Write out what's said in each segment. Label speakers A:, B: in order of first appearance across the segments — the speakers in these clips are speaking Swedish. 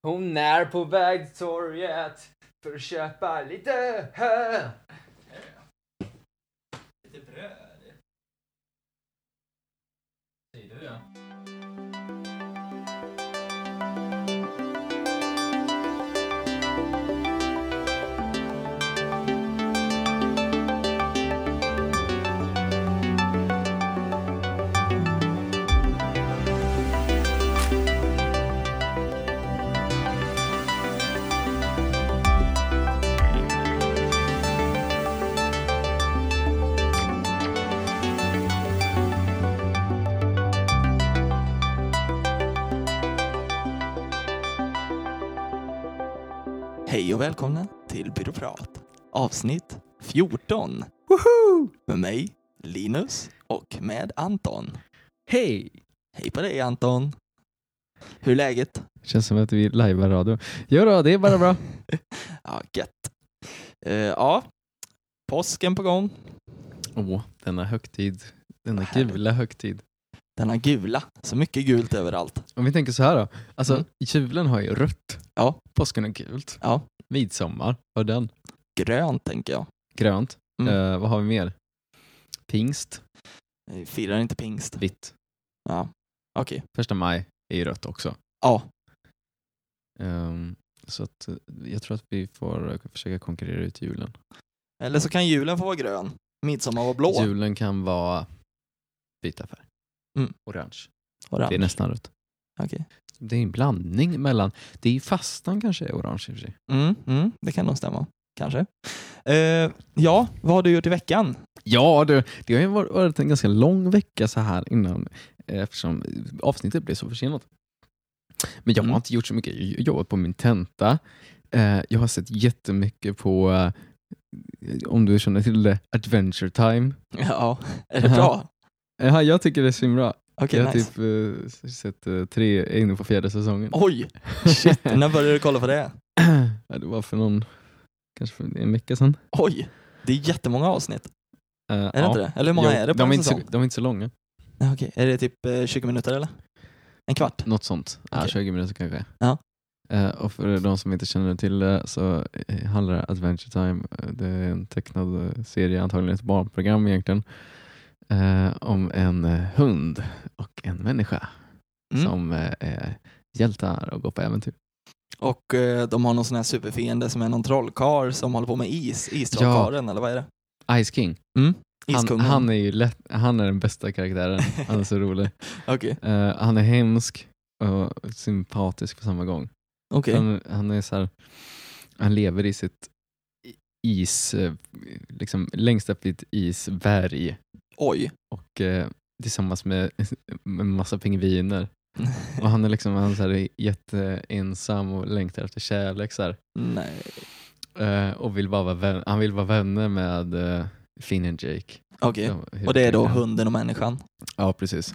A: Hon är på väg till torget för att köpa lite hö.
B: Lite bröd. Säger du ja.
C: Hej och välkomna till Byråprat. Avsnitt 14. Woho! Med mig, Linus, och med Anton.
D: Hej!
C: Hej på dig Anton! Hur är läget?
D: Känns som att vi lajvar radio. Jo då, det är bara bra.
C: Ja, gött. Eh, ja, påsken på gång.
D: Åh, denna högtid. Denna
C: Härligt.
D: gula högtid.
C: Denna gula, så mycket gult överallt.
D: Om vi tänker så här då. Alltså,
C: Mm.
D: julen har ju rött.
C: Ja.
D: Påsken har gult.
C: Ja.
D: Midsommar har den.
C: Grönt tänker jag.
D: Grönt.
C: Mm.
D: Eh, vad har vi mer? Pingst.
C: Vi Firar inte pingst.
D: Vitt.
C: Ja, okej.
D: Första maj är ju rött också.
C: Ja,
D: Ehm, så att eh, jag tror att vi får eh, försöka konkurrera ut julen.
C: eller så kan julen få vara grön. Midsommar var blå.
D: Julen kan vara byta färg.
C: Mm.
D: Orange.
C: Orange.
D: Det är nästan rött.
C: Okej.
D: Det är en blandning mellan, det är ju fastan kanske är orange i och för sig.
C: Mm, mm, det kan nog stämma. Kanske. Eh, ja, vad har du gjort i veckan?
D: Ja, det, det har ju varit- varit en ganska lång vecka så här innan eh, eftersom avsnittet blev så försenat. Men jag
C: Mm.
D: har inte gjort så mycket. Jag har jobbat på min tenta. Eh, Jag har sett jättemycket på, eh, om du känner till det, Adventure Time.
C: Ja, är det bra?
D: Eh, Jag tycker det är så bra.
C: Okej,
D: jag har
C: nice.
D: typ eh, sett eh, tre, jag är inne på fjärde säsongen.
C: Oj, shit, när började du kolla på det?
D: Ja, det var för någon, kanske för en vecka sedan.
C: Oj, det är jättemånga avsnitt.
D: Eh,
C: Är det inte det? Eller hur många är det på
D: de
C: en
D: är inte så,
C: säsong?
D: De är inte så långa.
C: Nej, Okej, är det typ eh, 20 minuter eller? En kvart?
D: Något sånt. Ja,
C: Okej.
D: 20 minuter kanske.
C: Ja.
D: Eh, och för de som inte känner till det så eh, handlar det Adventure Time, eh, det är en tecknad eh, serie, antagligen ett barnprogram egentligen, eh, om en eh, hund och en människa
C: Mm.
D: som eh, är hjältar och går på äventyr.
C: Och eh, de har någon sån här superfiende som är någon trollkarl som håller på med is, istrollkarlen eller vad är det?
D: Ice King, han,
C: Iskungen?
D: han är ju lätt, han är den bästa karaktären, han är så rolig.
C: Okej,
D: Eh, han är hemsk och sympatisk på samma gång.
C: okej.
D: Han, han är så här, han lever i sitt is, eh, liksom längst upp i ett isberg
C: Oj.
D: och eh, tillsammans med med en massa pingviner. Och han är liksom han är så här, jätteensam och längtar efter kärlek så här.
C: Nej,
D: Eh, och vill bara vara vän, han vill vara vänner med eh, Finn och Jake.
C: okej.
D: De-
C: Och det är då
D: huvudkaraktärerna.
C: hunden och människan?
D: Ja, precis.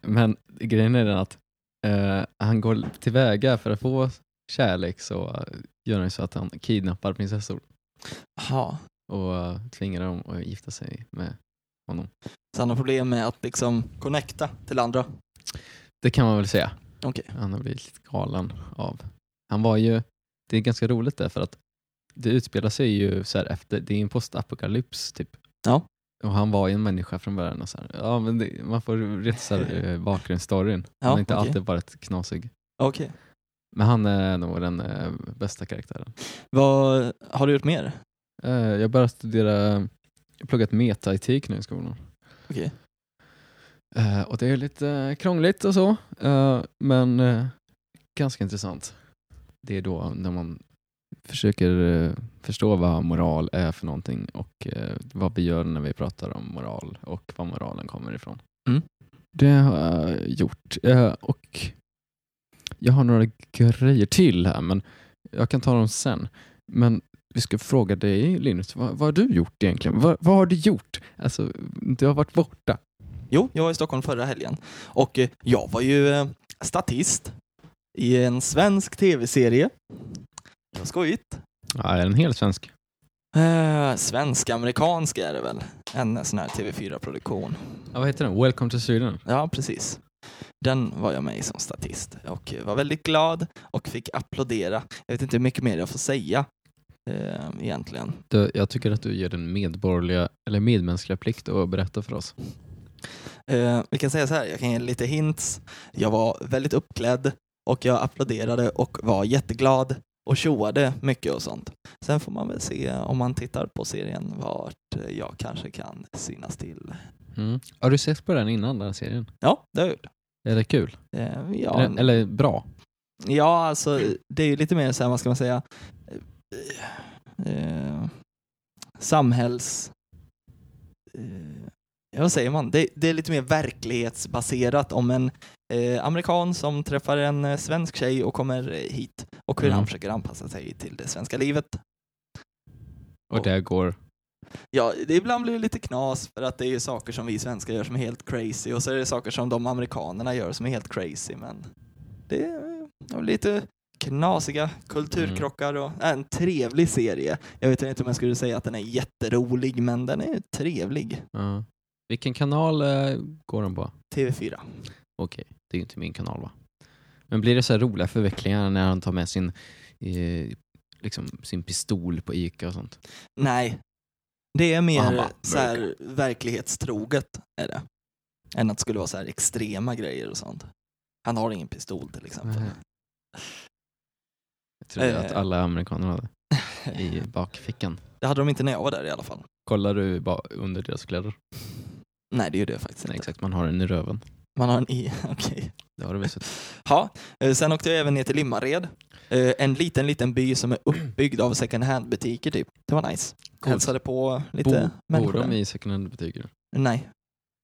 D: Men grejen är den att eh, han går tillväga för att få kärlek så eh, gör han så att han kidnappar prinsessor
C: Jaha.
D: och eh, tvingar dem att gifta sig med honom.
C: Så han har problem med att liksom connecta till andra?
D: Det kan man väl säga.
C: Okej.
D: Han har blivit lite galen av. Han var ju, det är ganska roligt där för att det utspelar sig ju så här efter, det är en postapokalyps typ.
C: Ja.
D: Och han var ju en människa från början och så här, ja men det, man får rätt så här, eh, bakgrundsstoryn.
C: Ja,
D: han har inte
C: okej.
D: alltid varit knasig.
C: Okej.
D: Men han är nog den eh, bästa karaktären.
C: Vad har du gjort mer?
D: Eh, jag började studera, jag har pluggat metaetik nu i skolan.
C: Okej.
D: Eh, och det är lite krångligt och så, eh, men eh, ganska intressant. Det är då när man försöker eh, förstå vad moral är för någonting och eh, vad vi gör när vi pratar om moral och var moralen kommer ifrån.
C: Mm.
D: Det har jag gjort. Eh, och jag har några grejer till här, men jag kan ta dem sen. Men vi ska fråga dig, Linus, vad, vad har du gjort egentligen? Vad, vad har du gjort? Alltså, du har varit borta.
C: Jo, jag var i Stockholm förra helgen och eh, jag var ju eh, statist i en svensk tv-serie. Det var skojigt.
D: Ja, är den helt svensk?
C: Eh, Svensk-amerikansk är det väl? En sån här TV4-produktion.
D: Ja, vad heter den? Welcome to Sweden?
C: Ja, precis. Den var jag med i som statist och eh, var väldigt glad och fick applådera. Jag vet inte hur mycket mer jag får säga eh, egentligen.
D: Du, jag tycker att du gör den medborgerliga, eller medmänskliga plikt att berätta för oss.
C: Eh, vi kan säga så här, jag kan ge lite hints. Jag var väldigt uppklädd och jag applåderade och var jätteglad och tjoade mycket och sånt. Sen får man väl se om man tittar på serien vart jag kanske kan synas till.
D: Mm. Har du sett på den innan, den här serien?
C: Ja, det har jag gjort.
D: Är det kul?
C: Eh, ja,
D: Eller, eller bra?
C: ja, alltså det är ju lite mer så här, vad ska man säga, eh, eh, samhälls... Eh, ja, vad säger man? Det, det är lite mer verklighetsbaserat om en eh, amerikan som träffar en eh, svensk tjej och kommer eh, hit och hur
D: Mm.
C: han försöker anpassa sig till det svenska livet.
D: Och det går...
C: Ja, det ibland blir det lite knas för att det är ju saker som vi svenskar gör som är helt crazy och så är det saker som de amerikanerna gör som är helt crazy men det är eh, lite knasiga kulturkrockar och är en trevlig serie. Jag vet inte om jag skulle säga att den är jätterolig men den är trevlig.
D: Ja. Vilken kanal eh, går den på?
C: TV4.
D: Okej, det är ju inte min kanal va? Men blir det så här roliga förvecklingar när han tar med sin, eh, liksom, sin pistol på Ica och sånt?
C: Nej, det är
D: Och han
C: mer
D: bara,
C: så här verklighetstroget är det. Än att det skulle vara så här extrema grejer och sånt. Han har ingen pistol till exempel.
D: Nej. Jag trodde
C: Eh.
D: att alla amerikaner hade i bakfickan.
C: Det hade de inte när jag var där i alla fall.
D: Kollar du bara under deras kläder?
C: Nej, det gjorde jag faktiskt
D: Nej,
C: inte.
D: exakt, man har den i röven.
C: Man har en i, okej.
D: Det har du väl sett?
C: Ja, eh, sen åkte jag även ner till Limmared. Eh, En liten, liten by som är uppbyggd av second hand-butiker typ. Det var nice.
D: Coolt.
C: Hälsade på lite
D: Bo, bor
C: människor
D: de
C: där.
D: i second hand-butiker?
C: Nej.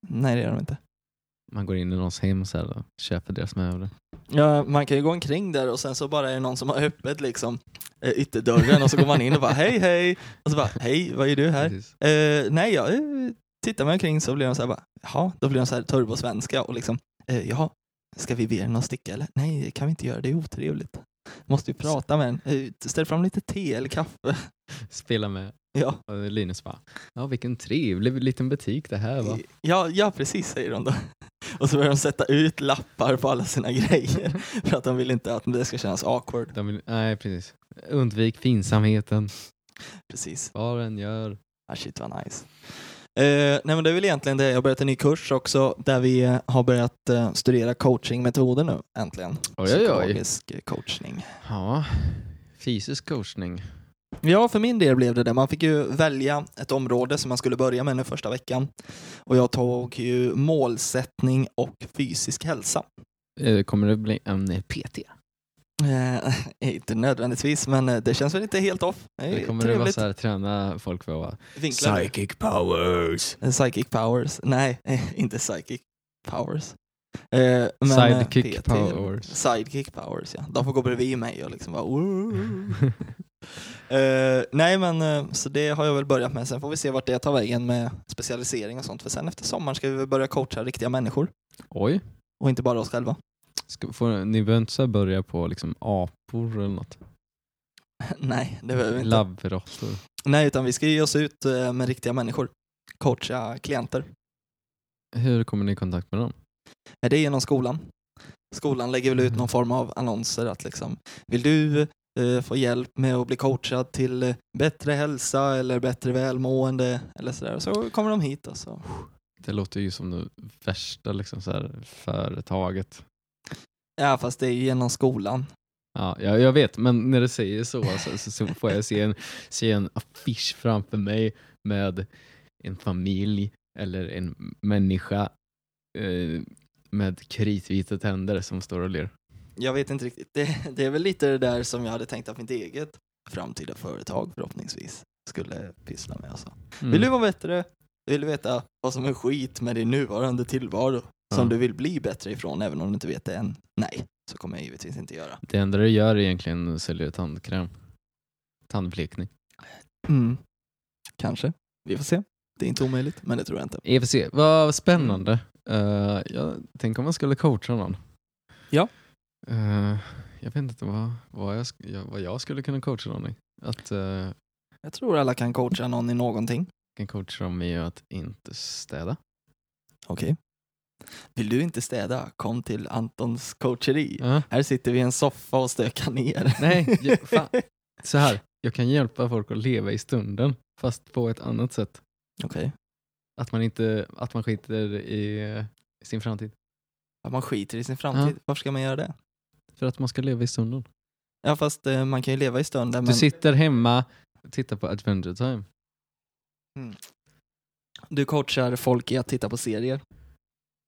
C: Nej, det gör de inte.
D: Man går in i någons hem så här och köper deras möbler.
C: Ja, man kan ju gå omkring där och sen så bara är det någon som har öppet liksom eh, ytterdörren och så går man in och bara hej hej och så bara hej vad gör du här?
D: Precis.
C: Eh, nej, jag eh, tittar mig omkring så blir de så här bara, jaha, då blir de så här turbosvenska och liksom, eh, jaha, ska vi be den att sticka eller? Nej, det kan vi inte göra, det är otrevligt. Måste ju prata med den. Eh, ställ fram lite te eller kaffe.
D: Spela med
C: ja.
D: och Linus bara, ja vilken trevlig liten butik det här var.
C: Ja, ja, precis säger de då. Och så börjar de sätta ut lappar på alla sina grejer för att de vill inte att det ska kännas awkward.
D: De vill, nej, precis. Undvik finsamheten,
C: Precis.
D: vad den gör.
C: Ah, shit vad nice. Eh, nej men det är väl egentligen det. Jag har börjat en ny kurs också där vi eh, har börjat eh, studera coachingmetoder nu äntligen.
D: Oj, oj, oj.
C: Psykologisk eh, coachning.
D: Ja, fysisk coachning.
C: Ja, för min del blev det det. Man fick ju välja ett område som man skulle börja med den första veckan. Och jag tog ju målsättning och fysisk hälsa.
D: Eh, Kommer det bli en PT?
C: Eh, inte nödvändigtvis, men eh, det känns väl inte helt off. Det är
D: Eller kommer det vara
C: trevligt.
D: så här, träna folk för att vara
C: Vinklar.
D: powers?
C: Eh, Psychic powers. Nej, eh, inte psychic powers. Eh, men, eh,
D: Sidekick
C: PT.
D: powers.
C: Sidekick powers, ja. De får gå bredvid mig och liksom bara... Mm. Eh, nej, men eh, så det har jag väl börjat med. Sen får vi se vart det tar vägen med specialisering och sånt. För sen efter sommaren ska vi väl börja coacha riktiga människor
D: Oj,
C: och inte bara oss själva.
D: Ska, får, ni behöver inte så här börja på liksom apor eller något?
C: nej, det behöver vi inte.
D: Labbråttor?
C: Nej, utan vi ska ge oss ut eh, med riktiga människor. Coacha klienter.
D: Hur kommer ni i kontakt med dem?
C: Är det genom skolan? Skolan lägger väl ut någon form av annonser att liksom, vill du eh, få hjälp med att bli coachad till eh, bättre hälsa eller bättre välmående eller sådär. Så kommer de hit och så.
D: Det låter ju som det värsta liksom, så här, företaget.
C: Ja, fast det är ju genom skolan.
D: Ja, jag, jag vet, men när du säger så så, så, så får jag se en, se en affisch framför mig med en familj eller en människa eh, med kritvita tänder som står och ler.
C: Jag vet inte riktigt. Det, det är väl lite det där som jag hade tänkt att mitt eget framtida företag förhoppningsvis skulle pyssla med. Och så.
D: Mm.
C: Vill du vara bättre? Vill du veta vad som är skit med din nuvarande tillvaro som
D: Ja.
C: du vill bli bättre ifrån även om du inte vet det än? Nej, så kommer jag givetvis inte göra.
D: Det enda du gör är egentligen att sälja tandkräm. Tandblekning.
C: Mm. Kanske. Vi får se. Det är inte omöjligt, men det tror jag inte.
D: EFC, vad spännande. Eh, jag tänk om man skulle coacha någon.
C: Ja.
D: Eh, jag vet inte vad, vad, jag, sk- jag, vad jag skulle kunna coacha någon i. Att uh,
C: Jag tror alla kan coacha någon i någonting.
D: kan coacha dem i att inte städa.
C: Okej. Vill du inte städa? Kom till Antons coacheri.
D: Ja.
C: Här sitter vi i en soffa och stökar ner.
D: Nej, ju- fan. Så här, jag kan hjälpa folk att leva i stunden, fast på ett annat sätt.
C: Okej.
D: Att man, inte, att man skiter i eh, sin framtid.
C: Att man skiter i sin framtid. Varför ska man göra det?
D: För att man ska leva i stunden.
C: Ja, fast eh, man kan ju leva i stunden.
D: Du
C: Men
D: sitter hemma och tittar på Adventure Time.
C: du coachar folk i att titta på serier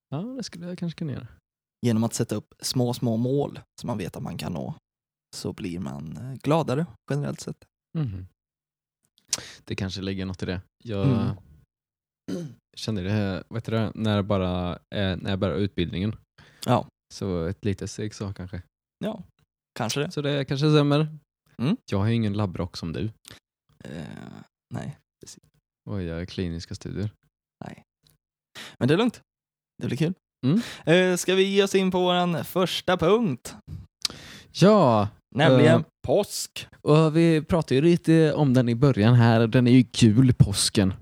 D: Ja, det skulle jag kanske kunna göra.
C: genom att sätta upp små, små mål som man vet att man kan nå. Så blir man eh, gladare generellt sett.
D: Mhm. Det kanske ligger något i det. Jag
C: Mm.
D: kände det, vet du, det, när, jag bara, eh, när jag började utbildningen.
C: Ja.
D: Så ett litet steg så kanske.
C: Ja, kanske det.
D: Så det kanske stämmer.
C: Mm.
D: Jag har ju ingen labbrock som du
C: Eh, nej,
D: och jag gör kliniska studier.
C: men det är lugnt. Det blir kul.
D: Mm.
C: Eh, ska vi ge oss in på vår första punkt?
D: Ja,
C: Nämligen
D: Eh.
C: påsk.
D: och vi pratade ju lite om den i början här och den är ju kul, påsken.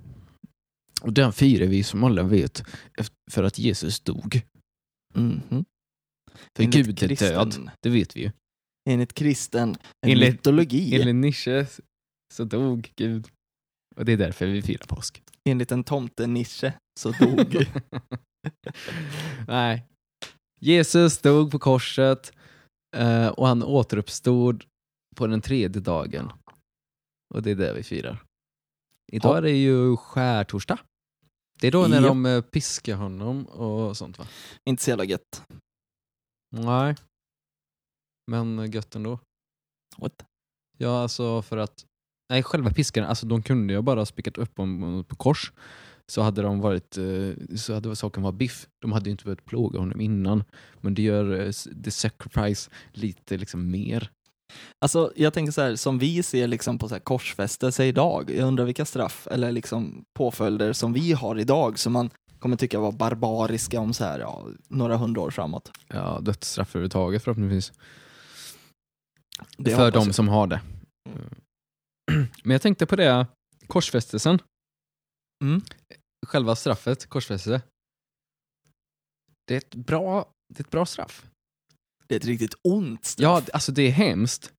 D: Och den firar vi som alla vet eft- för att Jesus dog.
C: Mhm.
D: För
C: Enligt
D: Gud är
C: kristen-
D: död, det vet vi ju.
C: Enligt kristen
D: Enligt-
C: mytologi. Enligt,
D: Enligt Nietzsche så dog Gud. Och det är därför vi firar påsk.
C: en tomtenische så dog
D: Nej. Jesus dog på korset eh, och han återuppstod på den tredje dagen. Och det är det vi firar. Idag
C: Ja.
D: är det ju skärtorsdag. Det är då när
C: Japp.
D: de eh, piskar honom och sånt va?
C: inte så jävla gött.
D: Nej. Men gött ändå.
C: What?
D: Ja, alltså för att... Nej, själva piskarna, alltså de kunde ju bara ha spikat upp honom på kors. Så hade de varit, eh, så hade saken varit biff. De hade ju inte behövt plåga honom innan. Men det gör eh, s- the sacrifice lite liksom mer.
C: Alltså, jag tänker så här, som vi ser liksom på så här korsfästelse idag, jag undrar vilka straff eller liksom påföljder som vi har idag som man kommer tycka var barbariska om så här, ja, några hundra år framåt.
D: Ja, dödsstraff överhuvudtaget förhoppningsvis.
C: Det
D: för
C: hoppas
D: de
C: jag.
D: som har det. Mm. Men jag tänkte på det, korsfästelsen.
C: Mm.
D: Själva straffet, korsfästelse. Det är ett bra, det är ett bra straff.
C: Det är ett riktigt ont straff.
D: Ja, alltså det är hemskt.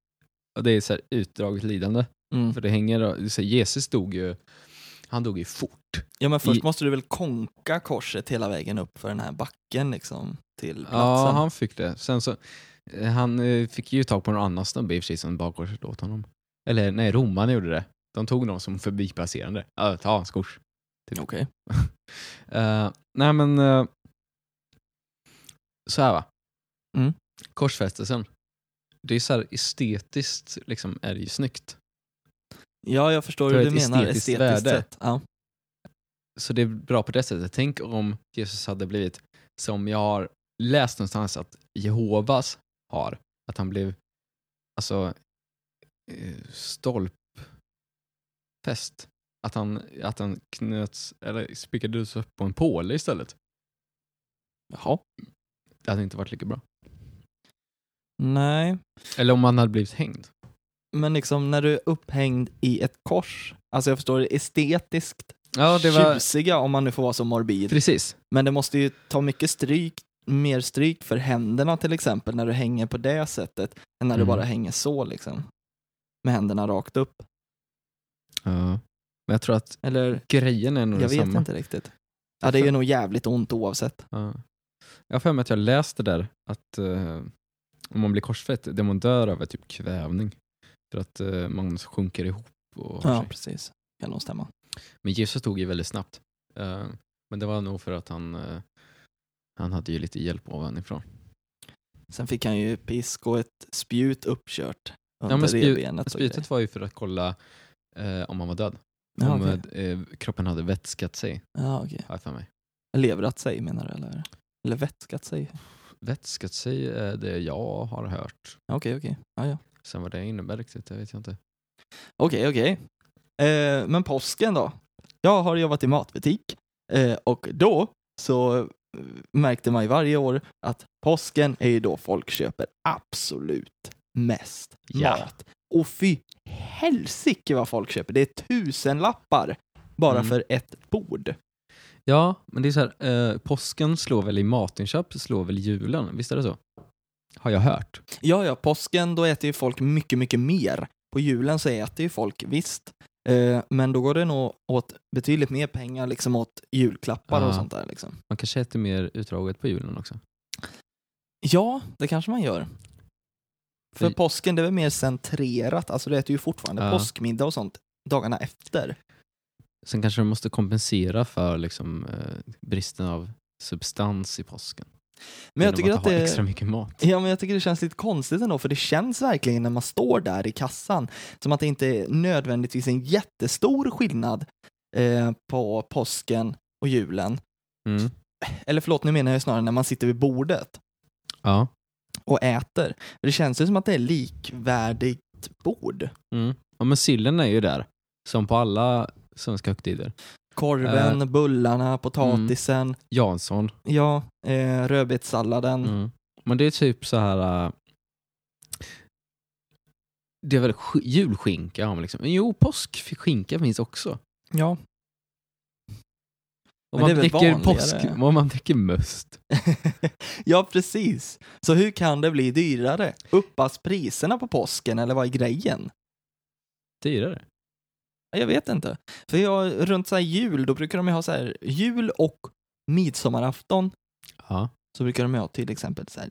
D: Och det är så här utdraget lidande.
C: Mm.
D: För det hänger, så här, Jesus dog ju, han dog ju fort.
C: Ja men först
D: I-
C: måste du väl konka korset hela vägen upp för den här backen liksom till
D: Ja,
C: platsen.
D: han fick det. Sen så, eh, han eh, fick ju tag på någon annan snubbe i och för sig som bar korset åt honom. Eller nej, romarna gjorde det. De tog någon som förbipasserande. Ja, ta hans kors.
C: Okej.
D: Eh, nej men, eh, så här va.
C: Mm.
D: Korsfästelsen. Det är så här estetiskt liksom, är det ju snyggt.
C: Ja, jag förstår
D: För
C: hur du
D: ett
C: menar
D: estetiskt
C: estetiskt
D: värde.
C: sett. Ja.
D: Så det är bra på det sättet. Tänk om Jesus hade blivit som jag har läst någonstans att Jehovas har. Att han blev alltså eh, stolpfäst. Att han, att han knöts, eller spikades upp på en påle istället.
C: Jaha.
D: Det hade inte varit lika bra.
C: Nej,
D: Eller om han hade blivit hängd.
C: men liksom när du är upphängd i ett kors, alltså jag förstår det estetiskt
D: Ja, det var...
C: tjusiga om man nu får vara så morbid,
D: Precis.
C: men det måste ju ta mycket stryk, mer stryk för händerna till exempel när du hänger på det sättet än när
D: Mm.
C: du bara hänger så liksom. Med händerna rakt upp.
D: Men jag tror att
C: Eller
D: grejen är nog
C: jag vet
D: detsamma.
C: inte riktigt. Ja, det är ju nog jävligt ont oavsett.
D: Ja. Jag har för mig att jag läste där att eh, om man blir korsfäst, det man dör av är typ kvävning. För att eh, man sjunker ihop. Och har
C: Ja,
D: sig.
C: precis. Kan nog stämma.
D: Men Jesus tog ju väldigt snabbt. Eh, men det var nog för att han, eh, han hade ju lite hjälp ovanifrån.
C: Sen fick han ju pisk och ett spjut uppkört under
D: Ja, men spjut-
C: revbenet. och
D: Spjutet var ju för att kolla eh, om han var död.
C: grejer.
D: om
C: ja, okej.
D: eh, kroppen hade vätskat sig,
C: Ja, okej.
D: har jag för mig.
C: Leverat sig menar du eller? Eller vätskat sig?
D: Vätskat sig är det jag har hört.
C: Ja, Okej, okej. Ja, ja.
D: Sen vad det innebär riktigt, det vet jag inte.
C: Okej, okej. Eh, men påsken då? Jag har jobbat i matbutik eh, och då så eh, märkte man ju varje år att påsken är ju då folk köper absolut mest
D: Ja.
C: mat. Och fy helsike vad folk köper. Det är tusenlappar bara
D: Mm.
C: för ett bord.
D: Ja, men det är så här, eh, påsken slår väl i matinköp, slår väl julen, visst är det så? Har jag hört.
C: Ja, ja, påsken då äter ju folk mycket, mycket mer. På julen så äter ju folk visst, eh, men då går det nog åt betydligt mer pengar liksom åt julklappar
D: Ah.
C: och sånt där. Liksom.
D: Man kanske äter mer utdraget på julen också.
C: Ja, det kanske man gör. För
D: För-
C: påsken det är väl mer centrerat, alltså du äter ju fortfarande
D: Ja.
C: påskmiddag och sånt dagarna efter.
D: Sen kanske de måste kompensera för liksom, eh, bristen av substans i påsken.
C: Men jag
D: Genom
C: tycker att
D: ha
C: det...
D: extra mycket mat.
C: Ja, men jag tycker det känns lite konstigt ändå, för det känns verkligen när man står där i kassan som att det inte är nödvändigtvis en jättestor skillnad eh, på påsken och julen.
D: Mm.
C: Eller förlåt, nu menar jag snarare när man sitter vid bordet
D: Ja.
C: och äter. Det känns ju som att det är likvärdigt bord.
D: Mm. ja, men sillen är ju där. Som på alla svenska högtider.
C: Korven,
D: Eh.
C: bullarna, potatisen,
D: Jansson.
C: ja, eh, rödbetssalladen.
D: Mm. Men det är typ så här... äh, Det är väl sk- julskinka har man liksom. Men jo, påskskinka finns också.
C: Ja.
D: Om
C: Men det
D: man,
C: är väl
D: dricker
C: vanligare.
D: påsk, om man dricker möst.
C: ja, precis. Så hur kan det bli dyrare? Uppas priserna på påsken eller vad är grejen?
D: Dyrare.
C: Jag vet inte. För jag, runt så här jul, då brukar de ju ha så här jul och midsommarafton
D: Ja.
C: så brukar de ju ha till exempel så här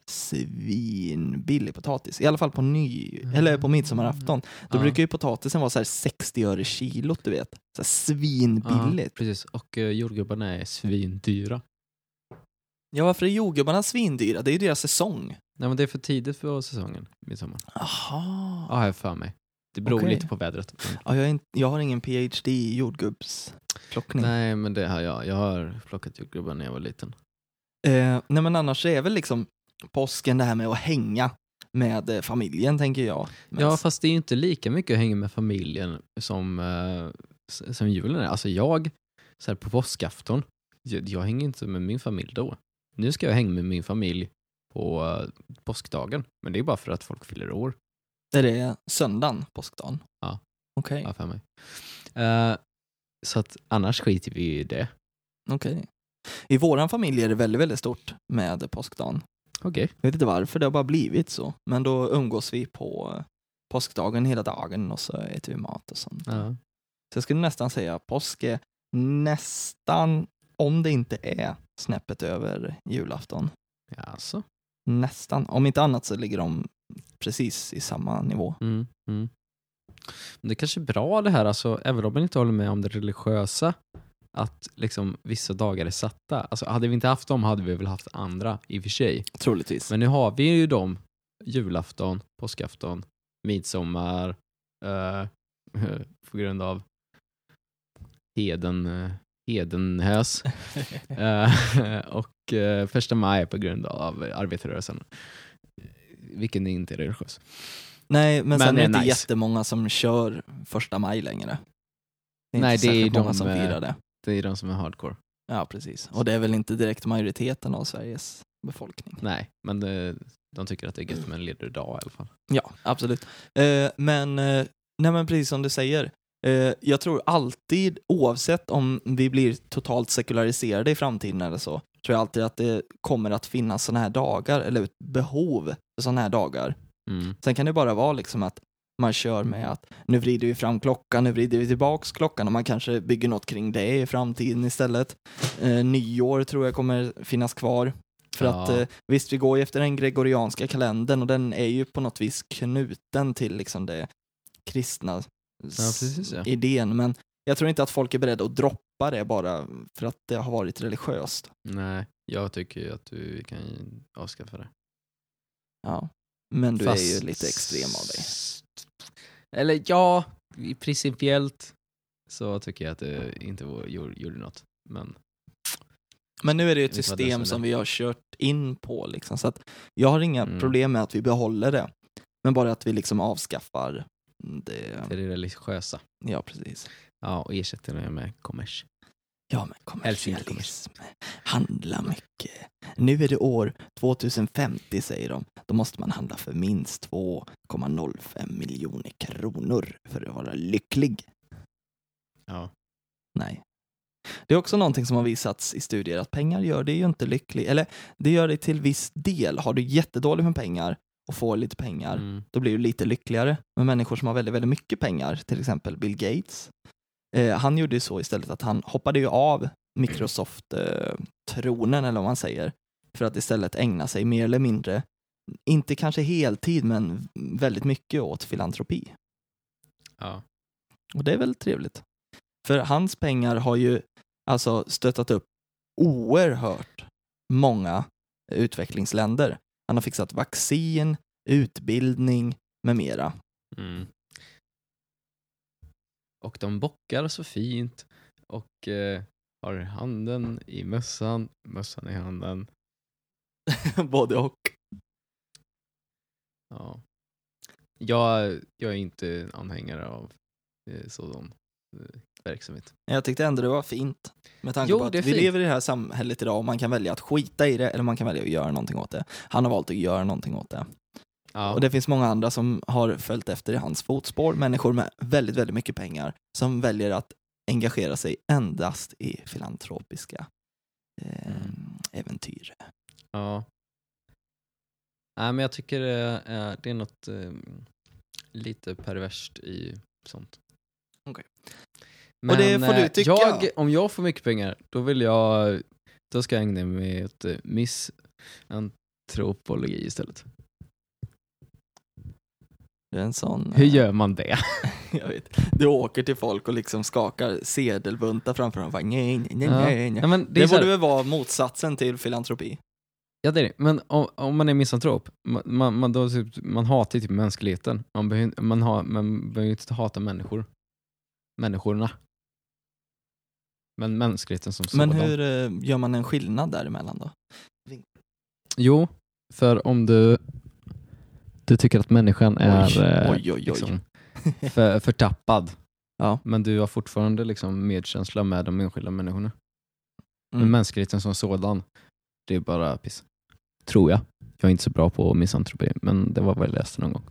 C: svinbillig potatis. I alla fall på, ny, eller på midsommarafton. Då
D: Mm. Ja.
C: brukar ju potatisen vara så här 60 öre kilot, du vet. Så här svinbilligt.
D: Ja, precis. Och uh, jordgubbarna är svindyra.
C: Ja, varför är jordgubbarna svindyra? Det är ju deras säsong.
D: Nej, men det är för tidigt för säsongen, midsommar.
C: Aha.
D: Ja, har jag för mig. Det beror
C: Okej. Mm.
D: lite på vädret.
C: Ja, jag, är inte, jag har ingen PhD i jordgubbsplockning. Nej.
D: Nej, men det har jag. Jag har plockat jordgubbar när jag var liten.
C: Eh, nej, men annars så är väl liksom påsken det här med att hänga med eh, familjen, tänker jag. Men-
D: Ja, fast det är ju inte lika mycket att hänga med familjen som, eh, s- som julen är. Alltså jag, så här på påskafton, jag, jag hänger inte med min familj då. Nu ska jag hänga med min familj på eh, påskdagen, men det är bara för att folk fyller år,
C: Är det söndagen, påskdagen?
D: Ja.
C: Okej.
D: har jag för mig. Eh, så att annars skiter vi i det.
C: okej. I våran familj är det väldigt, väldigt stort med påskdagen.
D: Okej.
C: Jag vet inte varför, det har bara blivit så. Men då umgås vi på eh, påskdagen hela dagen och så äter vi mat och sånt.
D: Ja.
C: Så jag skulle nästan säga att påsk är nästan, om det inte är snäppet över julafton.
D: Ja, alltså.
C: Nästan. Om inte annat så ligger de precis i samma nivå.
D: Mm, mm. Men det är kanske är bra det här, alltså, även om man inte håller med om det religiösa, att liksom vissa dagar är satta. Alltså, hade vi inte haft dem hade vi väl haft andra i och för sig.
C: Troligtvis.
D: Men nu har vi ju dem, julafton, påskafton, midsommar, eh, på grund av heden, eh, hedenhös. Eh, och eh, första maj på grund av arbetarrörelsen. Vilken inte är religiös.
C: Nej, men,
D: Men
C: sen är
D: det
C: det
D: är
C: inte
D: nice.
C: jättemånga som kör första maj längre. Det är
D: Nej,
C: inte
D: det är
C: särskilt många
D: de, eh,
C: som firar det.
D: Det är de som är hardcore.
C: Ja, precis. Och det är väl inte direkt majoriteten av Sveriges befolkning.
D: Nej, men eh, de tycker att det är gött med en ledig dag i alla fall.
C: Ja, absolut. Eh, men, eh, nej, men precis som du säger, eh, jag tror alltid, oavsett om vi blir totalt sekulariserade i framtiden eller så, tror jag alltid att det kommer att finnas sådana här dagar, eller ett behov för sådana här dagar.
D: Mm.
C: Sen kan det bara vara liksom att man kör med att nu vrider vi fram klockan, nu vrider vi tillbaks klockan och man kanske bygger något kring det i framtiden istället. Eh, nyår tror jag kommer finnas kvar. För
D: Ja.
C: att eh, visst, vi går ju efter den gregorianska kalendern och den är ju på något vis knuten till liksom det kristna s-
D: Ja, precis, ja.
C: idén. Men jag tror inte att folk är beredda att droppa det bara för att det har varit religiöst.
D: Nej, jag tycker ju att du kan ju avskaffa det.
C: Ja. Men du är
D: Fast-
C: ju lite extrem av dig.
D: Eller ja, i- principiellt så tycker jag att det inte vore- gjorde gjorde något. Men
C: Men nu är det ju ett
D: Jag vet vad det
C: system
D: är.
C: som vi har kört in på liksom, så att jag har inga
D: Mm.
C: problem med att vi behåller det. Men bara att vi liksom avskaffar det.
D: det är det religiösa.
C: Ja, precis.
D: Ja, och ersätter det med kommers.
C: Ja, men
D: Helst inte
C: kommersialism. Handla mycket. Nu är det år 2050 säger de. Då måste man handla för minst 2,05 miljoner kronor för att vara lycklig.
D: Ja.
C: Nej. Det är också någonting som har visats i studier att pengar gör dig ju inte lycklig, eller det gör dig till viss del. Har du jättedåligt med pengar och får lite pengar,
D: Mm.
C: då blir du lite lyckligare. Men människor som har väldigt, väldigt mycket pengar, till exempel Bill Gates, eh, han gjorde ju så istället att han hoppade ju av Microsoft-tronen, eller vad man säger, för att istället ägna sig mer eller mindre, inte kanske heltid, men väldigt mycket åt filantropi.
D: Ja.
C: Och det är väl trevligt. För hans pengar har ju alltså stöttat upp oerhört många utvecklingsländer. Han har fixat vaccin, utbildning med mera.
D: Mm. Och de bockar så fint och eh, har handen i mössan, mössan i handen.
C: Både och.
D: Ja. Jag, jag är inte anhängare av eh, sådan eh, verksamhet.
C: Jag tyckte ändå det var fint. Med tanke
D: Jo,
C: på att
D: det är
C: vi
D: fint.
C: lever i det här samhället idag och man kan välja att skita i det eller man kan välja att göra någonting åt det. Han har valt att göra någonting åt det.
D: Ja.
C: Och det finns många andra som har följt efter i hans fotspår. Människor med väldigt, väldigt mycket pengar som väljer att engagera sig endast i filantropiska eh,
D: Mm.
C: äventyr.
D: ja. Nej, men jag tycker det är, det är något eh, lite perverst i sånt.
C: Okej.
D: Men,
C: Och det får du
D: eh,
C: tycka.
D: Jag, om jag får mycket pengar, då vill jag, då ska jag ägna mig åt eh, misantropologi istället.
C: Det är en sån... eh,
D: Hur gör man det?
C: Jag vet. Du åker till folk och liksom skakar sedelbuntar framför dem. Bara, nej, nej, nej,
D: Ja.
C: nej, nej.
D: Ja, men
C: Det,
D: det är så här-
C: borde väl vara motsatsen till filantropi?
D: Ja det är det, men om, om man är misantrop, man, man, man, då, typ- man hatar ju typ mänskligheten. Man behöver, man, har, man behöver ju inte hata människor. Människorna. Men mänskligheten som sådan.
C: Men hur eh, gör man en skillnad däremellan då?
D: Jo, för om du, du tycker att människan är eh,
C: oj, oj, oj.
D: Liksom, för, förtappad,
C: Ja.
D: men du har fortfarande liksom medkänsla med de enskilda människorna. Men
C: Mm.
D: mänskligheten som sådan, det är bara piss. Tror jag. Jag är inte så bra på misantropi, men det var vad jag läste någon gång.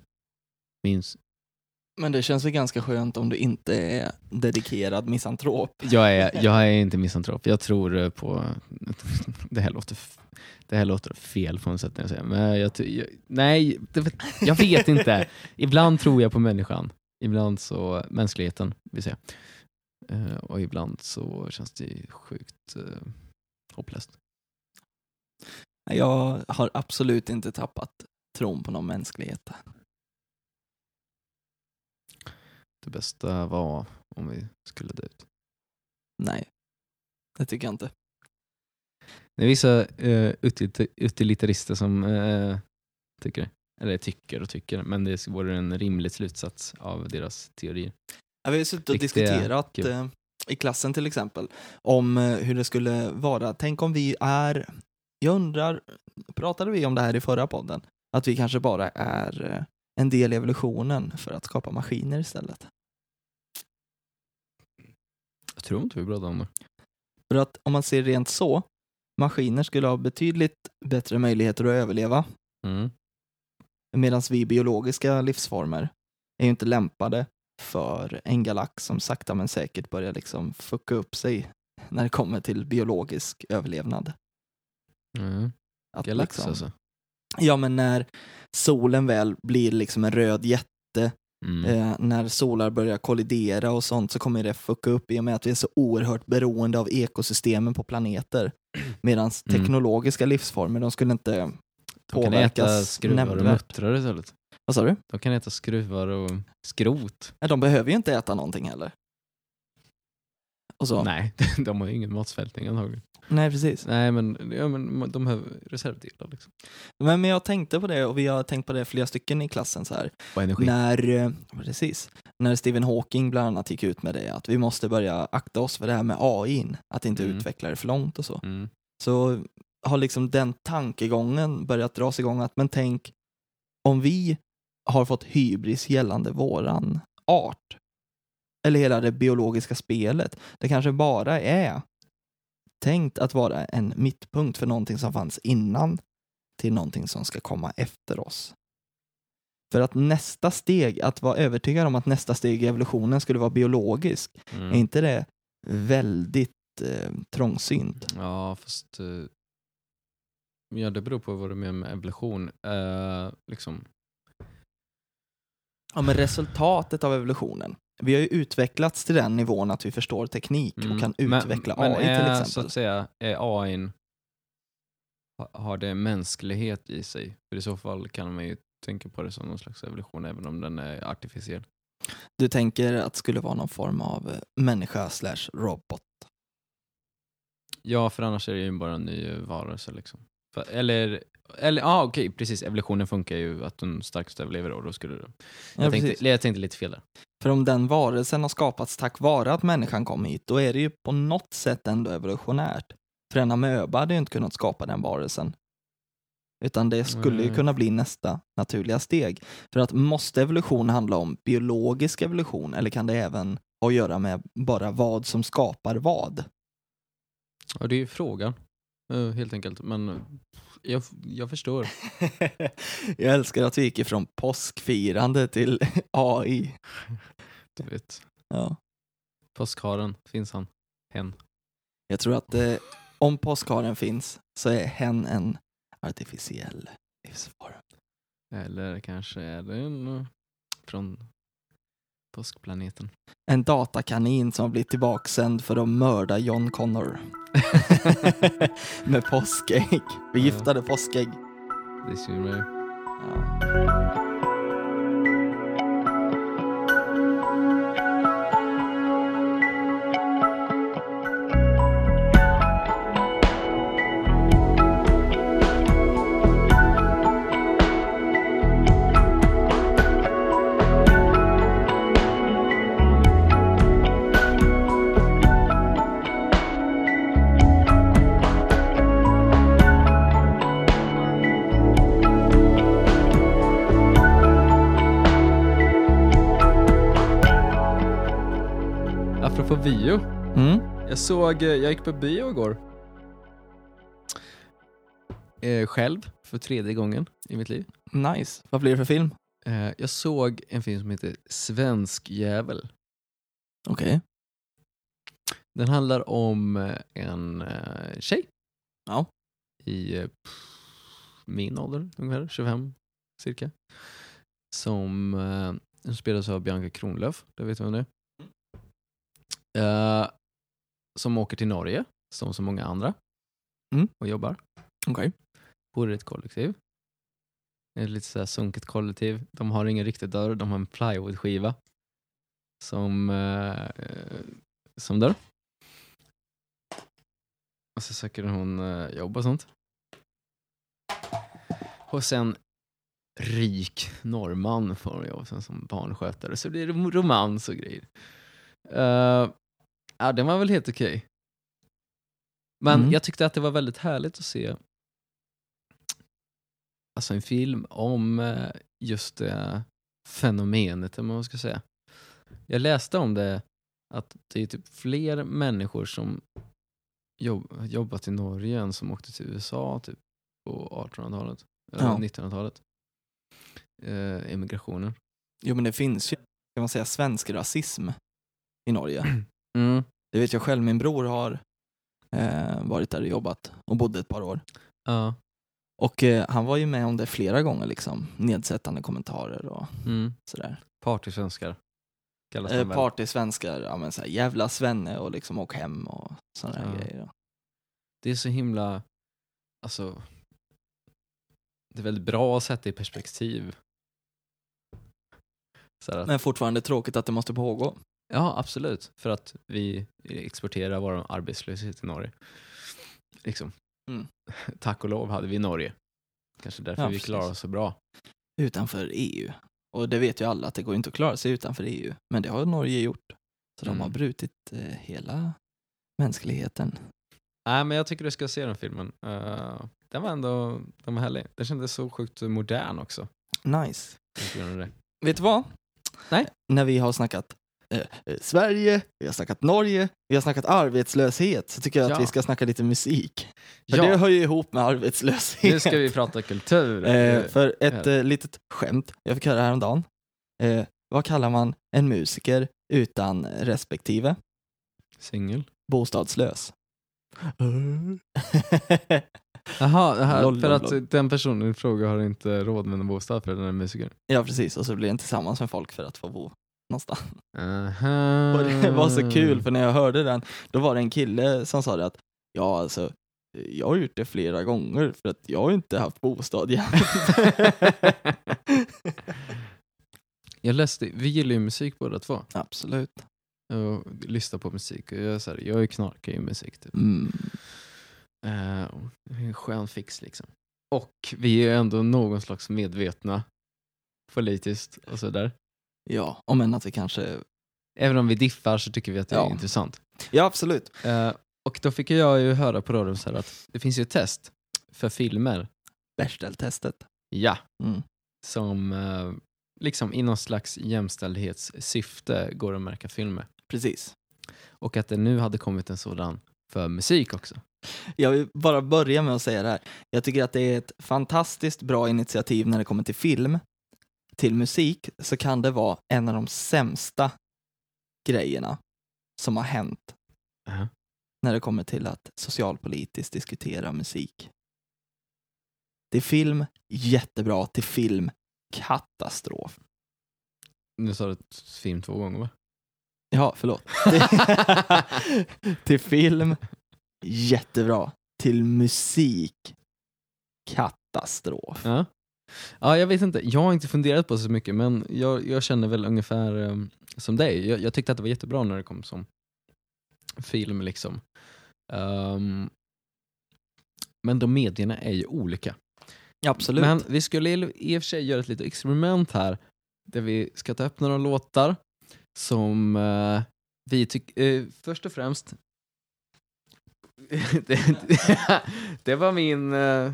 D: Minns.
C: Men det känns väl ganska skönt om du inte är dedikerad misantrop.
D: Jag är, jag är inte misantrop. Jag tror eh, på... Det här låter, f- det här låter fel på något sätt när jag säger men jag, ty- jag, Nej, det, jag vet inte. Ibland tror jag på människan. Ibland så... Mänskligheten, vill säga. Eh, Och ibland så känns det sjukt eh, hopplöst.
C: Nej, Jag har absolut inte tappat tron på någon mänsklighet.
D: Det bästa var om vi skulle dö ut.
C: Nej, det tycker jag inte.
D: Det är vissa eh, util- utilitarister som eh, tycker det. Eller tycker och tycker, men det vore en rimlig slutsats av deras teorier.
C: Ja, vi har ju suttit och
D: Riktiga
C: diskuterat
D: kul.
C: eh, i klassen till exempel om eh, hur det skulle vara. Tänk om vi är, jag undrar, pratade vi om det här i förra podden? Att vi kanske bara är eh, en del i evolutionen för att skapa maskiner istället.
D: Jag tror inte vi pratade om det.
C: För att om man ser rent så, maskiner skulle ha betydligt bättre möjligheter att överleva
D: Mm.
C: medan vi biologiska livsformer är ju inte lämpade för en galax som sakta men säkert börjar liksom fucka upp sig när det kommer till biologisk överlevnad.
D: Mm.
C: Att
D: Galax
C: liksom,
D: alltså.
C: Ja, men när solen väl blir liksom en röd jätte,
D: Mm.
C: eh, när solar börjar kollidera och sånt så kommer det fucka upp i och med att vi är så oerhört beroende av ekosystemen på planeter. Medan
D: Mm.
C: teknologiska livsformer, de skulle inte
D: De kan äta
C: påverkas
D: skruvar och
C: nämnvärt.
D: muttrar istället.
C: Vad sa du?
D: De kan äta skruvar och skrot.
C: Nej, de behöver ju inte äta någonting heller. Och så.
D: Nej, de har ju ingen matsvältning antagligen.
C: Nej, precis.
D: Nej, men, ja, men de har reservdelar liksom.
C: Men, men jag tänkte på det och vi har tänkt på det flera stycken i klassen så här.
D: Och energi.
C: När, eh, precis, när Stephen Hawking bland annat gick ut med det, att vi måste börja akta oss för det här med AI, n, att inte
D: Mm.
C: utveckla det för långt och så.
D: Mm.
C: Så har liksom den tankegången börjat dras igång att, men tänk om vi har fått hybris gällande våran art, eller hela det biologiska spelet, det kanske bara är tänkt att vara en mittpunkt för någonting som fanns innan till någonting som ska komma efter oss. För att nästa steg, att vara övertygad om att nästa steg i evolutionen skulle vara biologisk,
D: Mm.
C: är inte det väldigt eh, trångsynt.
D: Ja, fast... eh, Ja, det beror på vad du menar med evolution. Eh, liksom.
C: Ja, men resultatet av evolutionen. Vi har ju utvecklats till den nivån att vi förstår teknik och
D: Mm.
C: kan
D: Men-
C: utveckla
D: men
C: AI
D: är,
C: till
D: så
C: exempel.
D: att säga, är AI ha- har det mänsklighet i sig? För i så fall kan man ju tänka på det som någon slags evolution även om den är artificiell.
C: Du tänker att det skulle vara någon form av eh, människa slash robot.
D: Ja, för annars är det ju bara en ny eh, varelse liksom. För, eller, eller ja ah, okej, precis. Evolutionen funkar ju att den starkaste överlever och då skulle det...
C: Ja,
D: jag,
C: precis.
D: tänkte, jag tänkte lite fel där.
C: För om den varelsen har skapats tack vare att människan kom hit, då är det ju på något sätt ändå evolutionärt. För en amöba hade ju inte kunnat skapa den varelsen. Utan det skulle ju
D: Nej.
C: kunna bli nästa naturliga steg. För att måste evolution handla om biologisk evolution eller kan det även ha att göra med bara vad som skapar vad?
D: Ja, det är ju frågan. eh, helt enkelt. Men eh, jag, jag förstår.
C: Jag älskar att vi gick ifrån påskfirande till AI.
D: Du vet.
C: Ja.
D: Påskharen, finns han? Hen.
C: Jag tror att eh, om påskharen finns så är hen en artificiell livsform.
D: Eller kanske är det en eh, från påskplaneten.
C: En datakanin som blir tillbaksänd för att mörda John Connor med påskägg. Förgiftade påskägg.
D: Det ser mig.
C: Ja.
D: Apropå bio.
C: Mm.
D: Jag såg, eh, jag gick på bio igår. Eh, själv, för tredje gången i mitt liv.
C: Nice. Vad blir det för film?
D: Eh, jag såg en film som heter Svensk jävel.
C: Okej.
D: Den handlar om eh, en eh, tjej.
C: Ja.
D: I eh, pff, min ålder, ungefär 25 cirka. Som eh, som spelas av Bianca Kronlöf, det vet du vem det är. Eh, som åker till Norge, som så många andra,
C: Mm.
D: och jobbar.
C: Okej.
D: Bor i ett kollektiv. Ett lite sådär sunkigt kollektiv. De har ingen riktig dörr, de har en plywoodskiva som, eh, eh, som dörr. Och så söker hon eh, jobb och sånt. Och sen rik norrman får hon jobb sen som barnskötare. Så blir det rom- romans och grejer. Eh, ja, den var väl helt okej. Men
C: Mm.
D: jag tyckte att det var väldigt härligt att se alltså en film om eh, just det fenomenet, eller vad man ska säga. Jag läste om det, att det är typ fler människor som jobb, jobbat i Norge än som åkte till USA typ på 1800-talet, eller
C: Ja.
D: 1900-talet. Eh, emigrationen.
C: Jo men det finns ju, kan man säga, svensk rasism i Norge. Det vet jag själv, min bror har eh, varit där och jobbat och bodde ett par år.
D: Ja.
C: Och eh, han var ju med om det flera gånger liksom, nedsättande kommentarer och
D: Mm.
C: sådär.
D: Partysvenskar kallas
C: Eh,
D: de väl.
C: Partysvenskar, ja men såhär jävla svenne och liksom åk hem och sådana här
D: Ja.
C: grejer. då.
D: Det är så himla, alltså, det är väldigt bra att sätta i perspektiv. Så här att,
C: Men fortfarande tråkigt att det måste pågå.
D: Ja, absolut. För att vi exporterar vår arbetslöshet till Norge. Liksom.
C: Mm.
D: Tack och lov hade vi Norge. Kanske därför
C: Ja,
D: vi
C: precis.
D: klarar oss så bra.
C: Utanför EU. Och det vet ju alla att det går inte att klara sig utanför EU. Men det har Norge gjort. Så de
D: Mm.
C: har brutit eh, hela mänskligheten.
D: Nej, men jag tycker du ska se den filmen. Eh, den var ändå den var härlig. Den kändes så sjukt modern också.
C: Nice.
D: På grund av det.
C: Vet du vad?
D: Nej.
C: När vi har snackat eh, eh, Sverige, vi har snackat Norge, vi har snackat arbetslöshet så tycker jag
D: Ja.
C: att vi ska snacka lite musik. För det
D: Ja,
C: hör ju ihop med arbetslöshet.
D: nu ska vi prata kultur.
C: Eh, för ett
D: Ja.
C: eh, litet skämt jag fick höra häromdagen. Eh, vad kallar man en musiker utan respektive?
D: Singel.
C: bostadslös.
D: Jaha, det här-
C: Loll,
D: för
C: loll,
D: att
C: loll.
D: den personen i fråga har inte råd med en bostad för den är musiker.
C: ja, precis. Och så blir den tillsammans med folk för att få bo någonstans.
D: Aha.
C: Och det var så kul, för när jag hörde den, då var det en kille som sa det att ja, alltså, jag har gjort det flera gånger för att jag har inte haft bostad jämt.
D: jag läste, vi gillar ju musik båda två.
C: Absolut.
D: Och lyssnar på musik. Och jag, är så här, jag är knarkar ju musik typ.
C: Mm.
D: Eh, och det är en skön fix liksom. Och vi är ju ändå någon slags medvetna politiskt och sådär.
C: Ja, om än att vi kanske...
D: Även om vi diffar så tycker vi att det är
C: Ja.
D: intressant.
C: Ja, absolut.
D: Eh, och då fick jag ju höra på radion så här att det finns ju ett test för filmer.
C: Bechdel-testet.
D: Ja.
C: Mm.
D: Som eh, liksom i någon slags jämställdhetssyfte går att märka filmer.
C: Precis.
D: Och att det nu hade kommit en sådan för musik också.
C: Jag vill bara börja med att säga det här. Jag tycker att det är ett fantastiskt bra initiativ när det kommer till film. Till musik så kan det vara en av de sämsta grejerna som har hänt
D: Aha.
C: när det kommer till att socialpolitiskt diskutera musik. Till film, jättebra. Till film, katastrof.
D: Nu sa du film två gånger va?
C: Ja, förlåt. till film, jättebra. Till musik, katastrof.
D: Ja. ja, jag vet inte. Jag har inte funderat på det så mycket men jag, jag känner väl ungefär ehm, som dig. Jag, jag tyckte att det var jättebra när det kom som film liksom. Ehm, men de medierna är ju olika.
C: Absolut.
D: Men vi skulle i- i och för sig göra ett litet experiment här där vi ska ta upp några låtar som eh, vi tycker... först och främst... det, det var min uh,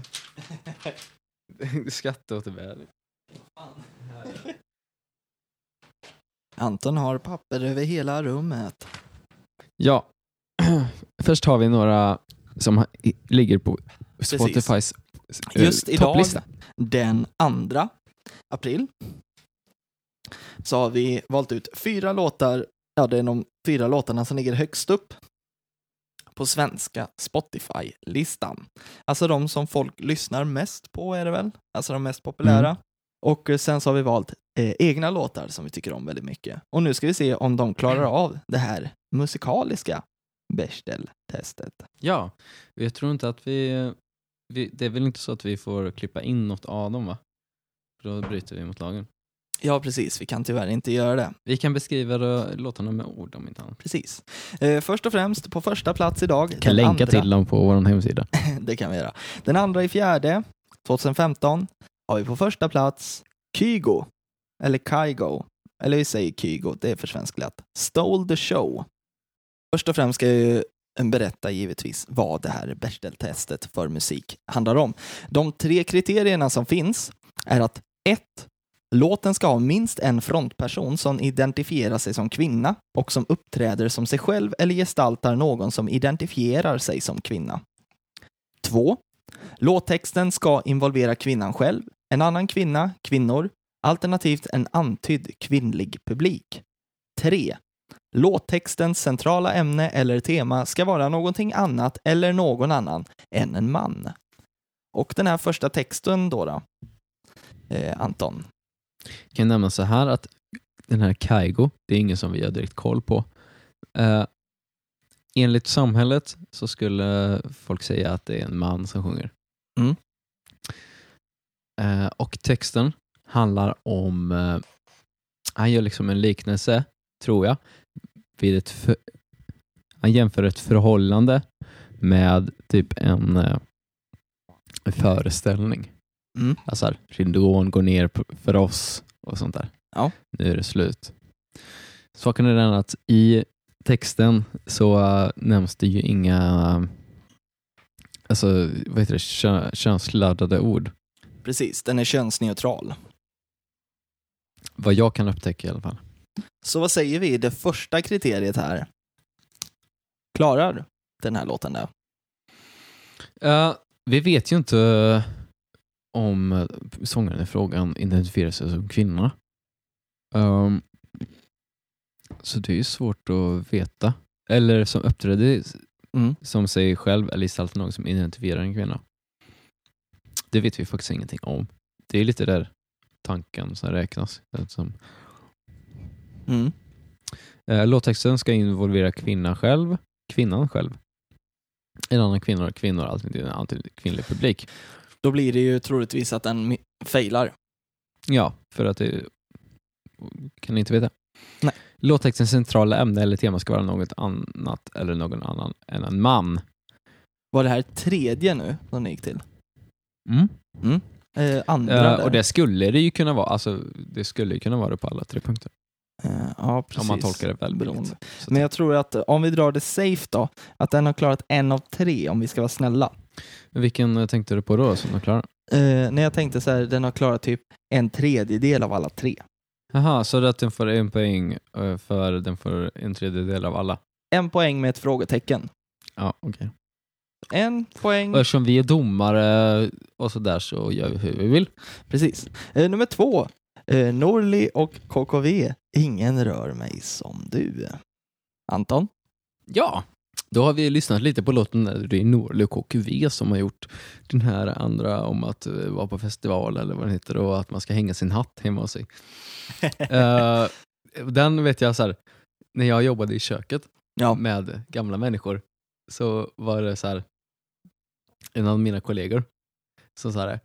D: skatteåterbäring.
C: Anton har papper över hela rummet.
D: Ja. Först har vi några som ha- i- ligger på Spotifys eh,
C: Just idag,
D: topplista.
C: den 2 april, så har vi valt ut fyra låtar. Ja, det är de fyra låtarna som ligger högst upp på svenska Spotify-listan. Alltså de som folk lyssnar mest på är det väl? Alltså de mest populära.
D: Mm.
C: Och eh, sen så har vi valt eh, egna låtar som vi tycker om väldigt mycket. Och nu ska vi se om de klarar av det här musikaliska Bechdel-testet.
D: Ja, jag tror inte att vi, vi... Det är väl inte så att vi får klippa in något av dem va? För då bryter vi mot lagen.
C: Ja, precis. Vi kan tyvärr inte göra det.
D: Vi kan beskriva eh, låtarna med ord om inte annat.
C: Precis. Eh, först och främst, på första plats idag.
D: kan
C: den
D: länka
C: andra,
D: till dem på vår hemsida.
C: Det kan vi göra. Den andra i fjärde, 2015, har vi på första plats Kygo. Eller Kygo. Eller vi säger Kygo, det är försvensklat. Stole the show. Först och främst ska jag ju berätta givetvis vad det här Bechdel-testet för musik handlar om. De tre kriterierna som finns är att 1. Låten ska ha minst en frontperson som identifierar sig som kvinna och som uppträder som sig själv eller gestaltar någon som identifierar sig som kvinna. 2. Låttexten ska involvera kvinnan själv, en annan kvinna, kvinnor, alternativt en antydd kvinnlig publik. 3. Låttextens centrala ämne eller tema ska vara någonting annat eller någon annan än en man. Och den här första texten då, då eh, Anton.
D: Jag kan nämna så här att den här Kaigo, det är ingen som vi har direkt koll på. Eh, enligt samhället så skulle folk säga att det är en man som sjunger.
C: Mm.
D: Eh, och texten handlar om, eh, han gör liksom en liknelse, tror jag, vid ett för, han jämför ett förhållande med typ en, eh, en föreställning.
C: Mm.
D: Alltså här, ridån går ner p- för oss och sånt där.
C: Ja.
D: Nu är det slut. Saken är den att i texten så äh, nämns det ju inga äh, alltså, vad heter det, kö- könsladdade ord.
C: Precis, den är könsneutral.
D: Vad jag kan upptäcka i alla fall.
C: Så vad säger vi, det första kriteriet här klarar den här låten det?
D: Eh, vi vet ju inte äh, om eh, sångaren i frågan identifierar sig som kvinna. Ehm, så det är ju svårt att veta. Eller som uppträdde
C: Mm.
D: som sig själv eller gestaltar någon som identifierar en kvinna. Det vet vi faktiskt ingenting om. Det är lite där tanken som räknas. Som,
C: Mm.
D: eh, låttexten ska involvera kvinnan själv, kvinnan själv, en annan kvinna och kvinnor, alltid en alltid kvinnlig publik.
C: Då blir det ju troligtvis att den mi- failar.
D: Ja, för att det kan ni inte veta.
C: Nej.
D: Låttextens centrala ämne eller tema ska vara något annat eller någon annan än en man.
C: Var det här tredje nu som ni gick till?
D: Mm.
C: Eh, andra
D: Eh,
C: där.
D: och det skulle det ju kunna vara. Alltså, det skulle ju kunna vara det på alla tre punkter.
C: Eh, ja, precis.
D: Om man tolkar det välvilligt.
C: Beroende.
D: Så att-
C: Men jag tror att eh, om vi drar det safe då, att den har klarat en av tre om vi ska vara snälla.
D: Vilken eh, tänkte du på då som du klarar?
C: Eh, när jag tänkte så här, den har klarat typ en tredjedel av alla tre.
D: Jaha, så att den får en poäng eh, för den får en tredjedel av alla?
C: En poäng med ett frågetecken.
D: Ja, okej.
C: En poäng.
D: Och Eftersom vi är domare och sådär så gör vi hur vi vill.
C: Precis. Eh, nummer två. Eh, Norli och KKV. Ingen rör mig som du. Anton?
D: Ja, då har vi lyssnat lite på låten där. Det är Norli och KQV som har gjort den här andra om att eh, vara på festival eller vad den heter och att man ska hänga sin hatt hemma hos sig. Eh, den vet jag så här, när jag jobbade i köket
C: Ja.
D: med gamla människor så var det så här en av mina kollegor som sa det.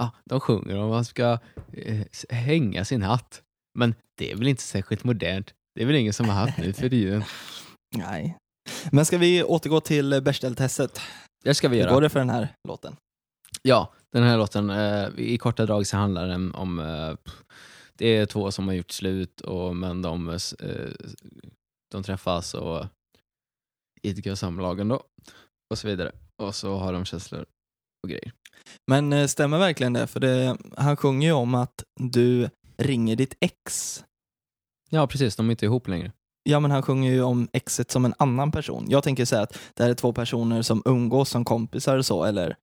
D: Ah, de sjunger om man ska eh, s- hänga sin hatt. Men det är väl inte särskilt modernt. Det är väl ingen som har hatt nu för tiden.
C: Nej. Men ska vi återgå till eh, Bechdel-testet?
D: Det ska vi
C: Hur
D: göra.
C: går det för den här låten?
D: Ja, den här låten, eh, i korta drag så handlar den om, eh, pff, det är två som har gjort slut, och, men de, eh, s- eh, de träffas och idkar samlagen då, och så vidare. Och så har de känslor och grejer.
C: Men eh, stämmer verkligen det? För det, han sjunger ju om att du ringer ditt ex.
D: Ja, precis, de är inte ihop längre.
C: Ja, men han sjunger ju om exet som en annan person. Jag tänker säga att det här är två personer som umgås som kompisar och så, eller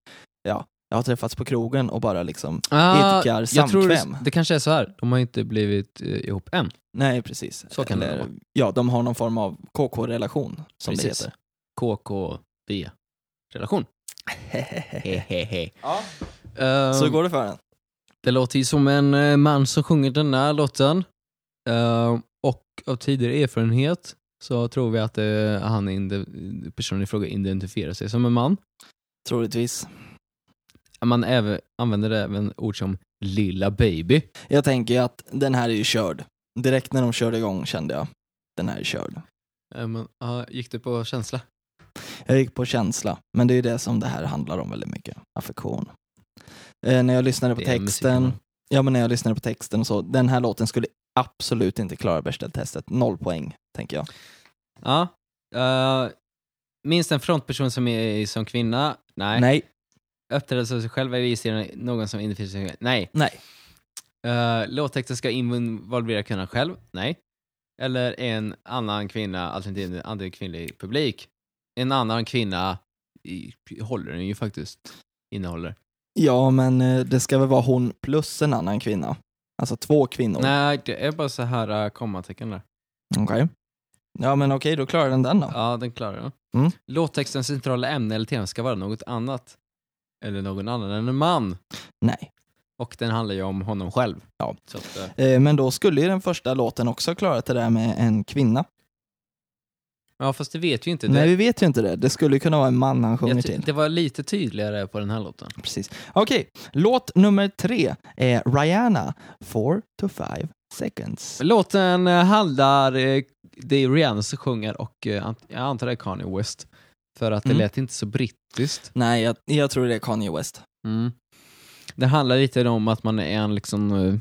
C: ja, jag har träffats på krogen och bara liksom idkar
D: Ah, jag tror
C: samkväm.
D: det, det kanske är så här, de har inte blivit eh, ihop än.
C: Nej, precis.
D: Så kan det vara.
C: Ja, de har någon form av KK-relation, som
D: Precis.
C: det
D: KKB-relation.
C: heter.
D: Hehehe.
A: Ja.
D: Ehm,
C: så går det för den.
D: Det låter ju som en eh, man som sjunger den här låten. Eh, och av tidigare erfarenhet så tror vi att eh, han inde- personen i fråga identifierar sig som en man.
C: Troligtvis.
D: Man även, använder även ord som lilla baby.
C: Jag tänker ju att den här är ju körd. Direkt när de körde igång kände jag, den här är körd.
D: Eh, men, ja, gick det på känsla?
C: Jag gick på känsla, men det är ju det som det här handlar om väldigt mycket. Affektion. Eh, när jag lyssnade på
D: Det är
C: texten,
D: musiken.
C: ja men när jag lyssnade på texten och så, den här låten skulle absolut inte klara Bechdel-testet. Noll poäng, tänker jag.
D: Ja. Eh, minst en frontperson som är som kvinna? Nej.
C: Nej,
D: Uppträder som sig själv eller registrerar någon som identifierar sig som kvinna? Nej.
C: nej.
D: Uh, låttexten ska involvera kvinnan själv? Nej. Eller en annan kvinna, alternativt en annan kvinnlig publik? En annan kvinna i, håller den ju faktiskt. Innehåller.
C: Ja, men eh, det ska väl vara hon plus en annan kvinna. Alltså två kvinnor.
D: Nej, det är bara så här eh, kommatecken där.
C: Okej. Ja, men okej, då klarar den den då.
D: Ja, den klarar jag.
C: Mm.
D: Låttextens centrala ämne eller tema ska vara något annat. Eller någon annan än en man.
C: Nej.
D: Och den handlar ju om honom själv.
C: Ja.
D: Så att, eh,
C: Eh, Men då skulle ju den första låten också ha klarat det där med en kvinna.
D: ja, fast det vet vi inte.
C: Nej,
D: det,
C: vi vet ju inte det. Det skulle ju kunna vara en man han sjunger
D: jag ty-
C: till.
D: det var lite tydligare på den här låten.
C: Precis. Okej, låt nummer tre är Rihanna, 4 to 5 seconds.
D: Låten eh, handlar, eh, det är Rihanna som sjunger och eh, ant- jag antar det är Kanye West. För att det
C: Mm.
D: lät inte så brittiskt.
C: Nej, jag, jag tror det är Kanye West.
D: Mm. Det handlar lite om att man är en liksom eh,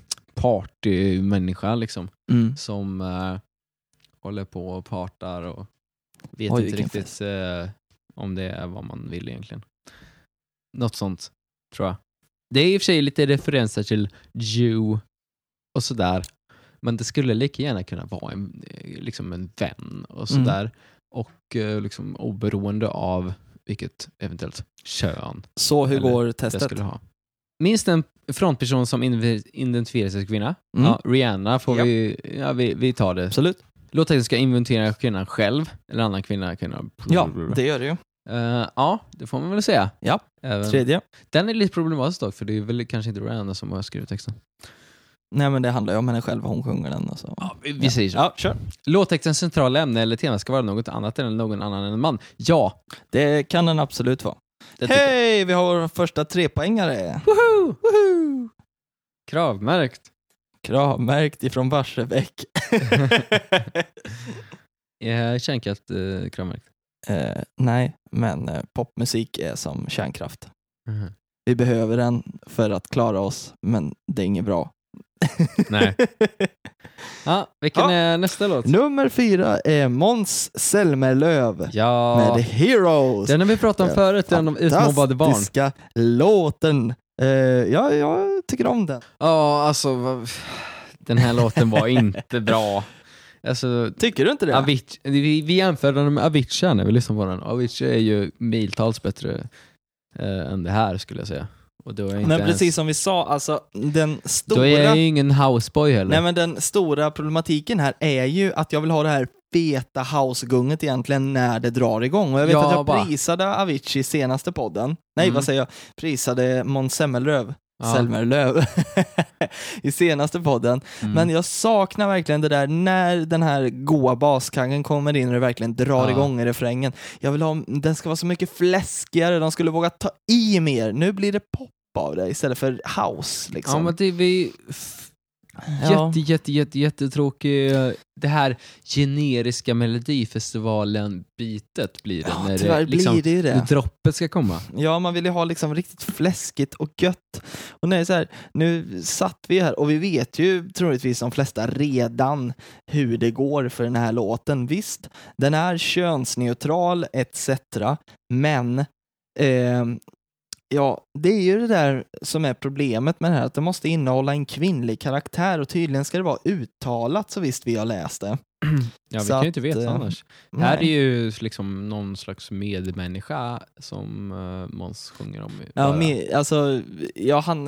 D: partymänniska liksom.
C: Mm.
D: Som eh, håller på och partar och vet
C: Oj,
D: inte
C: vilken
D: riktigt eh, om det är vad man vill egentligen. Något sånt, tror jag. Det är i och för sig lite referenser till Jew och sådär. Men det skulle lika gärna kunna vara en, eh, liksom en vän och
C: Mm.
D: sådär. Och eh, liksom oberoende av vilket eventuellt kön
C: Så hur
D: Eller,
C: går
D: det
C: testet?
D: skulle ha. Minst en frontperson som inve- identifierar sig som kvinna.
C: Mm.
D: Ja, Rihanna får
C: Ja.
D: vi, ja, vi, vi tar det
C: Absolut.
D: Låttexten ska inventera kvinnan själv, eller annan kvinna. kvinna.
C: Ja, det gör det ju.
D: Eh, ja, det får man väl säga.
C: Ja,
D: Även.
C: Tredje.
D: Den är lite problematisk dock, för det är väl kanske inte Rihanna som har skrivit texten.
C: Nej men det handlar ju om henne själv, hon sjunger den och så.
D: Ja, vi, vi säger så.
C: Ja, kör.
D: Låttextens centrala ämne eller tema ska vara något annat än någon annan än en man. Ja!
C: Det kan den absolut vara.
D: det tycker jag.
C: Hej, vi har vår första trepoängare!
D: Woho!
C: Woho!
D: Kravmärkt.
C: Kravmärkt ifrån Barsebäck.
D: Eh, Kärnkraft, eh, kravmärkt.
C: eh, nej, men eh, popmusik är som kärnkraft.
D: Mhm.
C: Vi behöver den för att klara oss, men det är inget bra.
D: Nej. Ja, vilken
C: Ja.
D: är nästa låt?
C: Nummer fyra är Måns Zelmerlöw
D: Ja,
C: med Heroes.
D: den har vi pratat om förut, den om utmobbade barn.
C: Fantastiska låten. Eh, ja, jag tycker om den.
D: Ja, alltså vad- den här låten var inte bra. Alltså,
C: Tycker du inte det?
D: Avicii, vi, vi jämför den med Avicii här när vi lyssnar på den. Avicii är ju miltals bättre eh, än det här skulle jag säga. Och då är jag inte
C: men
D: ens,
C: precis som vi sa, alltså den stora...
D: Då är jag ju ingen houseboy heller.
C: Nej men den stora problematiken här är ju att jag vill ha det här feta housegunget egentligen när det drar igång. Och jag vet
D: Ja,
C: att jag
D: bara.
C: prisade Avicii i senaste podden. Nej
D: Mm.
C: vad säger jag? Prisade Måns Zelmerlöw.
D: Ja.
C: Zelmerlöw. I senaste podden.
D: Mm.
C: Men jag saknar verkligen det där när den här goa baskangen kommer in och det verkligen drar
D: Ja.
C: igång i refrängen. Jag vill ha, den ska vara så mycket fläskigare, de skulle våga ta i mer. Nu blir det pop av det istället för house liksom.
D: Ja men det vi...
C: Ja.
D: Jätte, jätte, jätte, jättetråkig... eh, Det här generiska melodifestivalen-bitet blir det.
C: Ja,
D: när
C: tyvärr
D: det, liksom,
C: blir det ju
D: När
C: det.
D: droppet ska komma.
C: Ja, man vill ju ha liksom riktigt fläskigt och gött. Och när det är så här, nu satt vi här och vi vet ju troligtvis de flesta redan hur det går för den här låten. Visst, den är könsneutral etc. Men ehm, ja, det är ju det där som är problemet med det här, att det måste innehålla en kvinnlig karaktär och tydligen ska det vara uttalat så visst vi har läst det.
D: Ja, vi
C: Så
D: kan ju
C: att,
D: inte veta
C: eh,
D: annars. Det här är
C: Nej.
D: ju liksom någon slags medmänniska som uh, Måns sjunger om. i-
C: Ja,
D: bara.
C: men, alltså, ja, han...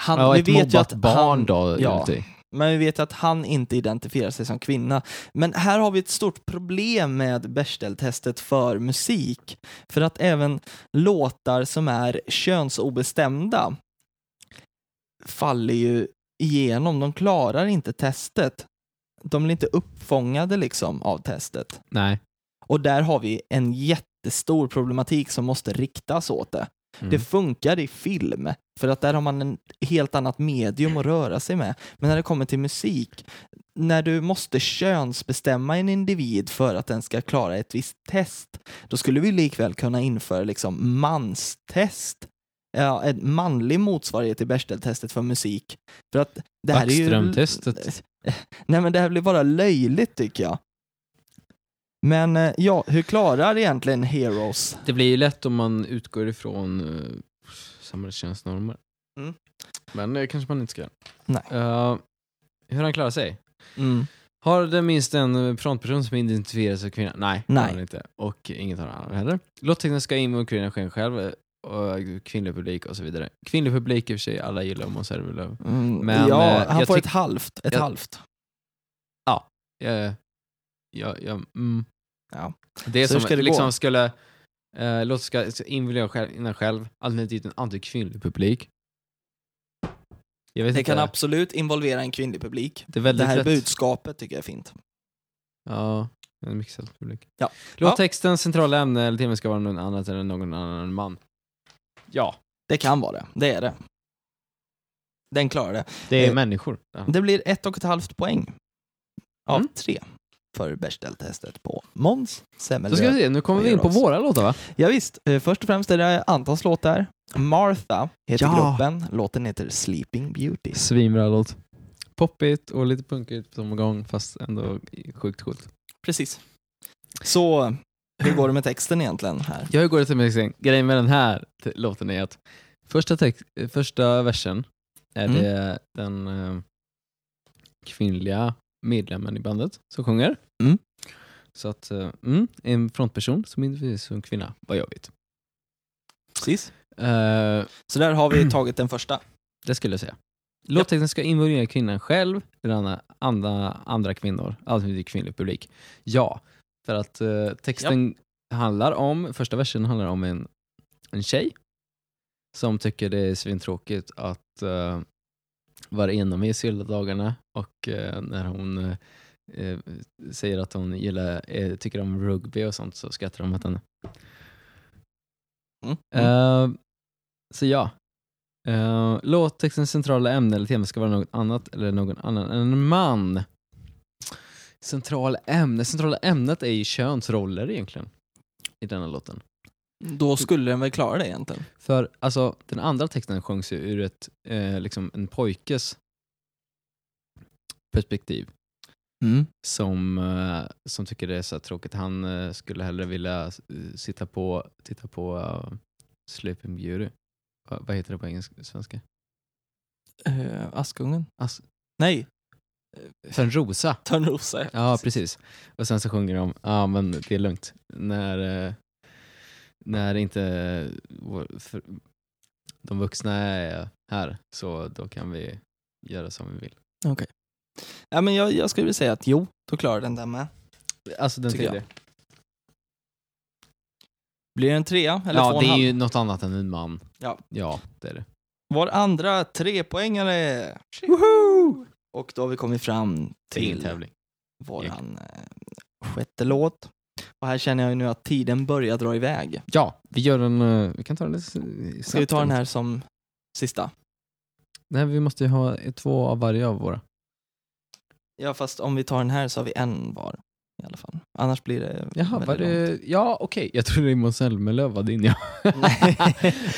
C: han
D: ja,
C: vi
D: ett mobbat
C: vet ju att
D: barn
C: han,
D: då.
C: ja.
D: enligt dig.
C: Men vi vet att han inte identifierar sig som kvinna. Men här har vi ett stort problem med Bechdel-testet för musik. För att även låtar som är könsobestämda faller ju igenom. De klarar inte testet. De blir inte uppfångade liksom av testet.
D: Nej.
C: Och där har vi en jättestor problematik som måste riktas åt det.
D: Mm.
C: Det funkar i film, för att där har man en helt annat medium att röra sig med. Men när det kommer till musik, när du måste könsbestämma en individ för att den ska klara ett visst test, då skulle vi likväl kunna införa liksom manstest. Ja, en manlig motsvarighet till Bechdel-testet för musik. För att det här är ju...
D: Backström-testet.
C: Nej men det här blir bara löjligt tycker jag. Men eh, ja, hur klarar egentligen Heroes?
D: Det blir ju lätt om man utgår ifrån uh, samhällstjänstnormer.
C: Mm.
D: Men det kanske man inte ska göra.
C: Nej.
D: Eh, hur han klarar sig? Mm. Har det minst en frontperson som identifierar sig som kvinna? Nej, det
C: Nej.
D: har den inte. Och inget har han heller. Låttexten ska involvera kvinnan själv, eh, och kvinnlig publik och så vidare. Kvinnlig publik i och för sig, alla gillar Måns Zelmerlöw.
C: Mm,
D: Men,
C: ja,
D: eh,
C: han
D: jag
C: får
D: tyck-
C: ett halvt. Ett
D: jag-
C: halvt.
D: Eh, Ja, ja, mm.
C: Ja.
D: Det är
C: Så
D: som
C: hur ska det
D: liksom
C: gå?
D: skulle, eh, låt ska involvera själv, innan själv, alternativt en antikvinnlig publik. Jag vet
C: Det
D: inte.
C: kan absolut involvera en kvinnlig publik.
D: det är väldigt
C: Det här
D: lätt.
C: budskapet tycker jag är fint.
D: Ja, en mixad publik.
C: Ja.
D: Låttextens centrala ämne eller tema ska vara någon annat än någon annan man. Ja,
C: Det kan vara det. Det är det. Den klarar det.
D: det är
C: Eh,
D: människor. Ja.
C: Det blir ett och ett halvt poäng av
D: Mm.
C: tre för Bechdel-testet på Måns
D: Då ska vi
C: Zelmerlöw.
D: se, nu kommer vi in på
C: Heroes.
D: våra låtar va?
C: Ja, visst, eh, först och främst är det Antons låt där. Martha heter
D: Ja.
C: gruppen. Låten heter Sleeping Beauty.
D: Svinbra låt. Poppigt och lite punkigt på samma gång, fast ändå sjukt coolt.
C: Precis. Så, hur går det med texten egentligen här?
D: Jag går till texten. Grejen med den här t- låten är att första, text, eh, första versen är
C: Mm.
D: det den eh, kvinnliga medlemmen i bandet som sjunger.
C: Mm.
D: Så att, eh, mm, en frontperson som inte är som kvinna, vad jag vet.
C: Precis.
D: Eh, Mm.
C: Så där har vi tagit den första.
D: det skulle jag säga. Låttexten ska involvera kvinnan själv eller andra, andra, andra kvinnor, alltså det är kvinnlig publik. Ja, för att eh, texten handlar om, första versen handlar om en, en tjej som tycker det är svintråkigt att eh, vara inomhus hela dagarna och eh, när hon eh, eh, säger att hon gillar, eh, tycker om rugby och sånt så skrattar de åt henne.
C: Mm.
D: Eh, så ja. Eh, låttextens centrala ämne eller tema ska vara något annat eller någon annan än en man. Centrala ämne. Centrala ämnet är ju könsroller egentligen. I denna låten.
C: Mm. Då skulle den väl klara det egentligen.
D: För alltså, den andra texten sjöngs ju ur ett, eh, liksom en pojkes perspektiv
C: Mm.
D: som, eh, som tycker det är så här tråkigt. Han eh, skulle hellre vilja eh, sitta på, titta på uh, Sleeping Beauty. Va- vad heter det på engelska, svenska?
C: Eh, Askungen?
D: As-
C: Nej,
D: Törnrosa.
C: Törnrosa.
D: Ja, precis. Och sen så sjunger de, ja men det är lugnt. När, eh, när inte eh, vår- för, de vuxna är här så då kan vi göra som vi vill.
C: Ja, men jag, jag skulle vilja säga att jo, då klarar den där med.
D: Alltså den
C: Tycker jag.
D: tredje.
C: Blir det en trea? Eller två
D: Ja,
C: och
D: det
C: en
D: är
C: halv?
D: ju något annat än en man.
C: Ja.
D: ja det är det.
C: Vår andra trepoängare! Woho! Och då har vi kommit fram
D: Till
C: till
D: tävling.
C: våran eh, sjätte låt. Och här känner jag ju nu att tiden börjar dra iväg.
D: Ja, vi gör en... eh, Vi kan ta den lite s-
C: Ska vi
D: snabbt.
C: ta den här som sista?
D: Nej, vi måste ju ha eh, två av varje av våra.
C: Ja, fast om vi tar den här så har vi en var i alla fall. Annars blir det
D: Jaha,
C: väldigt
D: var
C: långt.
D: det... Ja, okej. Jag trodde det var Måns Zelmerlöw var din, ja.
C: Nej.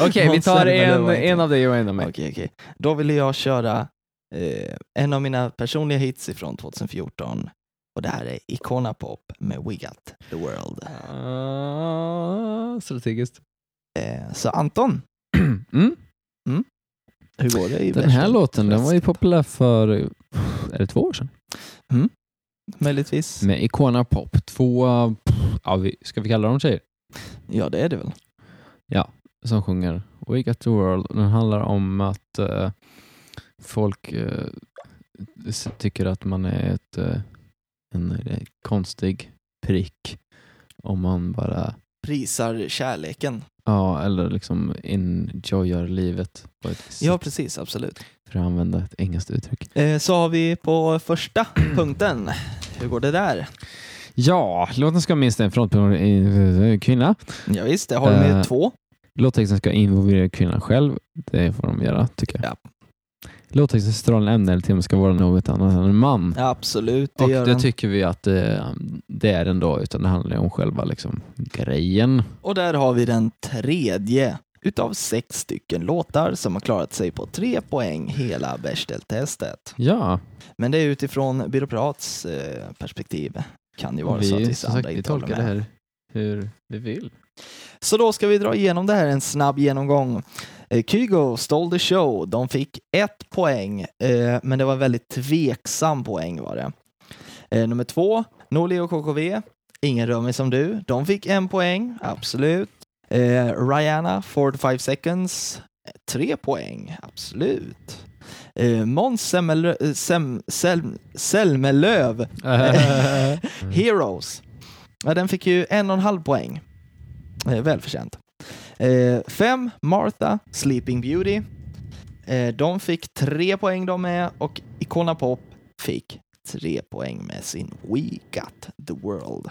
D: Okej, vi
C: Måns
D: tar
C: Zelmerlöw
D: en,
C: var inte.
D: en av dig och en av mig.
C: Okej, okej. Då ville jag köra eh, en av mina personliga hits ifrån 2014. Och det här är Icona Pop med We Got The World.
D: Ah, strategiskt.
C: Eh, så Anton,
D: Mm.
C: hur går det i
D: Den här
C: världen?
D: låten den var ju
C: förresten.
D: populär för, är det två år sedan?
C: Möjligtvis.
D: Med Icona Pop. Två, ja, vi, ska vi kalla dem tjejer?
C: Ja, det är det väl.
D: som sjunger We got the world. Den handlar om att eh, folk eh, s- tycker att man är ett, eh, en eh, konstig prick om man bara,
C: Prisar kärleken.
D: ja eller liksom enjoyar livet på ett visst
C: Ja,
D: sätt,
C: precis. Absolut.
D: för att använda ett engelskt uttryck.
C: Eh, så har vi på första punkten. Hur går det där?
D: Ja, låten ska minst en frontperson i kvinna.
C: Ja, visst, det har vi med
D: Eh,
C: två.
D: Låttexten ska involvera kvinnan själv. Det får de göra, tycker jag.
C: Ja.
D: Låttextens strålande ämne eller tema ska vara något annat än en man.
C: Ja, absolut, det
D: och
C: gör
D: det
C: den.
D: tycker vi att eh, det är den då, utan det handlar ju om själva liksom, grejen.
C: Och där har vi den tredje utav sex stycken låtar som har klarat sig på tre poäng hela Bechdel-testet.
D: Ja,
C: Men det är utifrån byråkrats eh, perspektiv. Kan ju vara
D: och vi,
C: så att vissa
D: som sagt,
C: andra
D: vi
C: inte håller
D: tolkar det
C: med.
D: här hur vi vill.
C: Så då ska vi dra igenom det här en snabb genomgång. Eh, Kygo stole the show. De fick ett poäng, eh, men det var en väldigt tveksam poäng var det. Eh, Nummer två, Norli och KKV. Ingen rör mig som du. De fick en poäng, absolut. Eh, Rihanna, Ford 5 seconds. Tre poäng, absolut. Eh, Måns Zelmerlö- eh, Sem- Sel- Zelmerlöw, Heroes. Ja, den fick ju en och en halv poäng. Eh, välförtjänt. Eh, fem, Martha, Sleeping Beauty. Eh, de fick tre poäng de med och Icona Pop fick tre poäng med sin We Got The World.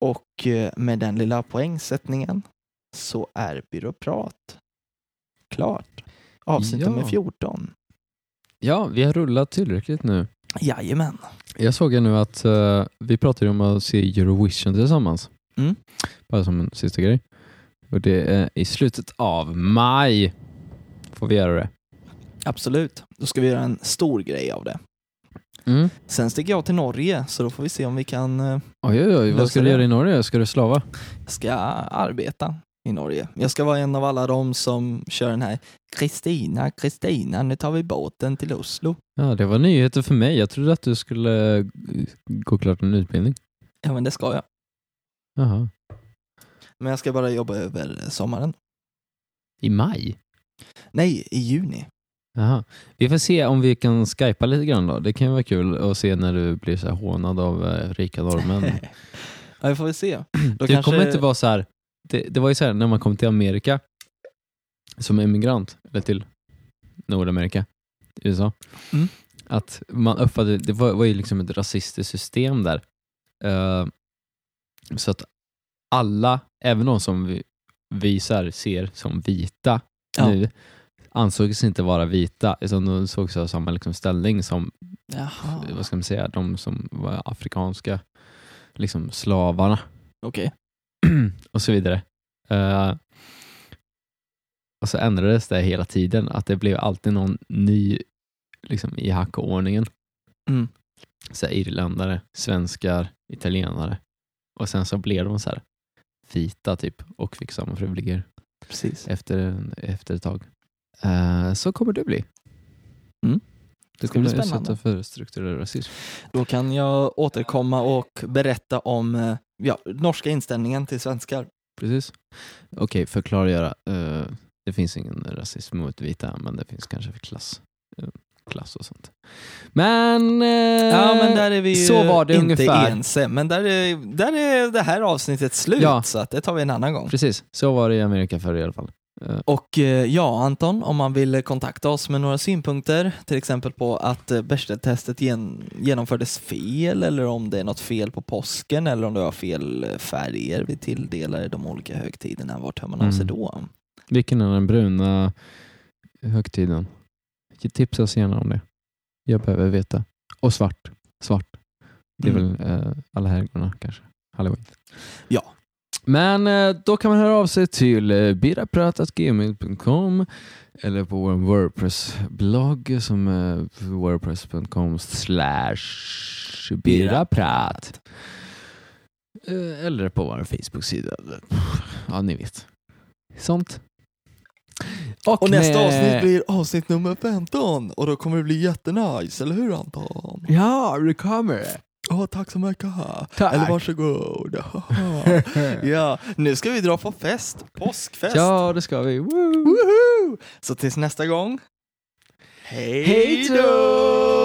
C: Och eh, med den lilla poängsättningen så är byråprat klart. Avsnitt
D: Ja.
C: nummer 14.
D: ja, vi har rullat tillräckligt nu.
C: Jajamän.
D: Jag såg ju nu att eh, vi pratade ju om att se Eurovision tillsammans.
C: Mm.
D: Bara som en sista grej. Och det är i slutet av maj får vi göra det.
C: Absolut. Då ska vi göra en stor grej av det. Sen sticker jag till Norge, så då får vi se om vi kan eh,
D: Oj, oj, oj. Vad
C: Löser
D: ska du
C: det.
D: göra i Norge? Ska du slava?
C: ska arbeta i Norge. Jag ska vara en av alla de som kör den här Kristina, Kristina, nu tar vi båten till Oslo.
D: Ja, det var nyheter för mig. Jag trodde att du skulle eh, gå klart en utbildning.
C: Ja, men det ska jag.
D: Jaha.
C: Men jag ska bara jobba över sommaren.
D: I maj?
C: Nej, i juni.
D: Jaha. Vi får se om vi kan skypa lite grann då. Det kan ju vara kul att se när du blir så här hånad av eh, rika norrmän.
C: ja, vi får väl se. Då
D: Det kommer inte vara så här. Det, det var ju så här när man kom till Amerika som emigrant, eller till Nordamerika, USA.
C: Mm.
D: Att man uppfattade, det var, var ju liksom ett rasistiskt system där. Eh, så att alla, även de som vi, vi så här ser som vita
C: Ja.
D: nu, ansågs inte vara vita, utan de sågs ha samma liksom ställning som
C: Jaha,
D: vad ska man säga, de som var afrikanska liksom slavarna
C: okej.
D: och så vidare. Eh, och så ändrades det hela tiden, att det blev alltid någon ny liksom, i hackordningen.
C: Mm.
D: Så här, irländare, svenskar, italienare. Och sen så blev de så här vita typ och fick samma privilegier
C: Precis.
D: efter, efter ett tag. Eh, så kommer det bli.
C: Mm.
D: Du
C: Ska bli
D: kommer utsätta
C: spännande.
D: för strukturell rasism.
C: Då kan jag återkomma och berätta om eh, ja, norska inställningen till svenskar.
D: Precis. Okej, förklara och göra. Eh, det finns ingen rasism mot vita, men det finns kanske för klass, eh, klass och sånt. Men... eh,
C: Ja, men där är vi ju
D: så var det
C: inte
D: ungefär.
C: ense. Men där är, där är det här avsnittet slut,
D: Ja.
C: så att det tar vi en annan gång.
D: Precis, så var det i Amerika förr i alla fall.
C: Och eh, ja, Anton, om man vill kontakta oss med några synpunkter, till exempel på att eh, Bechdel-testet gen- genomfördes fel, eller om det är något fel på påsken, eller om det var fel eh, färger vi tilldelade de olika högtiderna, vart hör man av sig
D: Mm.
C: då?
D: Vilken är den bruna högtiden? Tipsa oss gärna om det. Jag behöver veta. Och svart. Svart. Det är
C: Mm.
D: väl eh, alla helgona kanske. Halloween.
C: Ja.
D: Men eh, då kan man höra av sig till eh, birapratatgmail.com eller på vår Wordpress-blogg som eh, är wordpress.com slash biraprat. Eh, Eller på vår Facebook-sida. Ja, ni vet. Sånt.
C: Och nästa
D: med-
C: avsnitt blir avsnitt nummer 15 och då kommer det bli jättenice, eller hur Anton?
D: Ja, det kommer.
C: Ja, tack så mycket.
D: Tack.
C: Eller varsågod. ja, nu ska vi dra på fest, påskfest.
D: Ja, det ska vi. Woo!
C: Woohoo! Så tills nästa gång. Hej
D: då!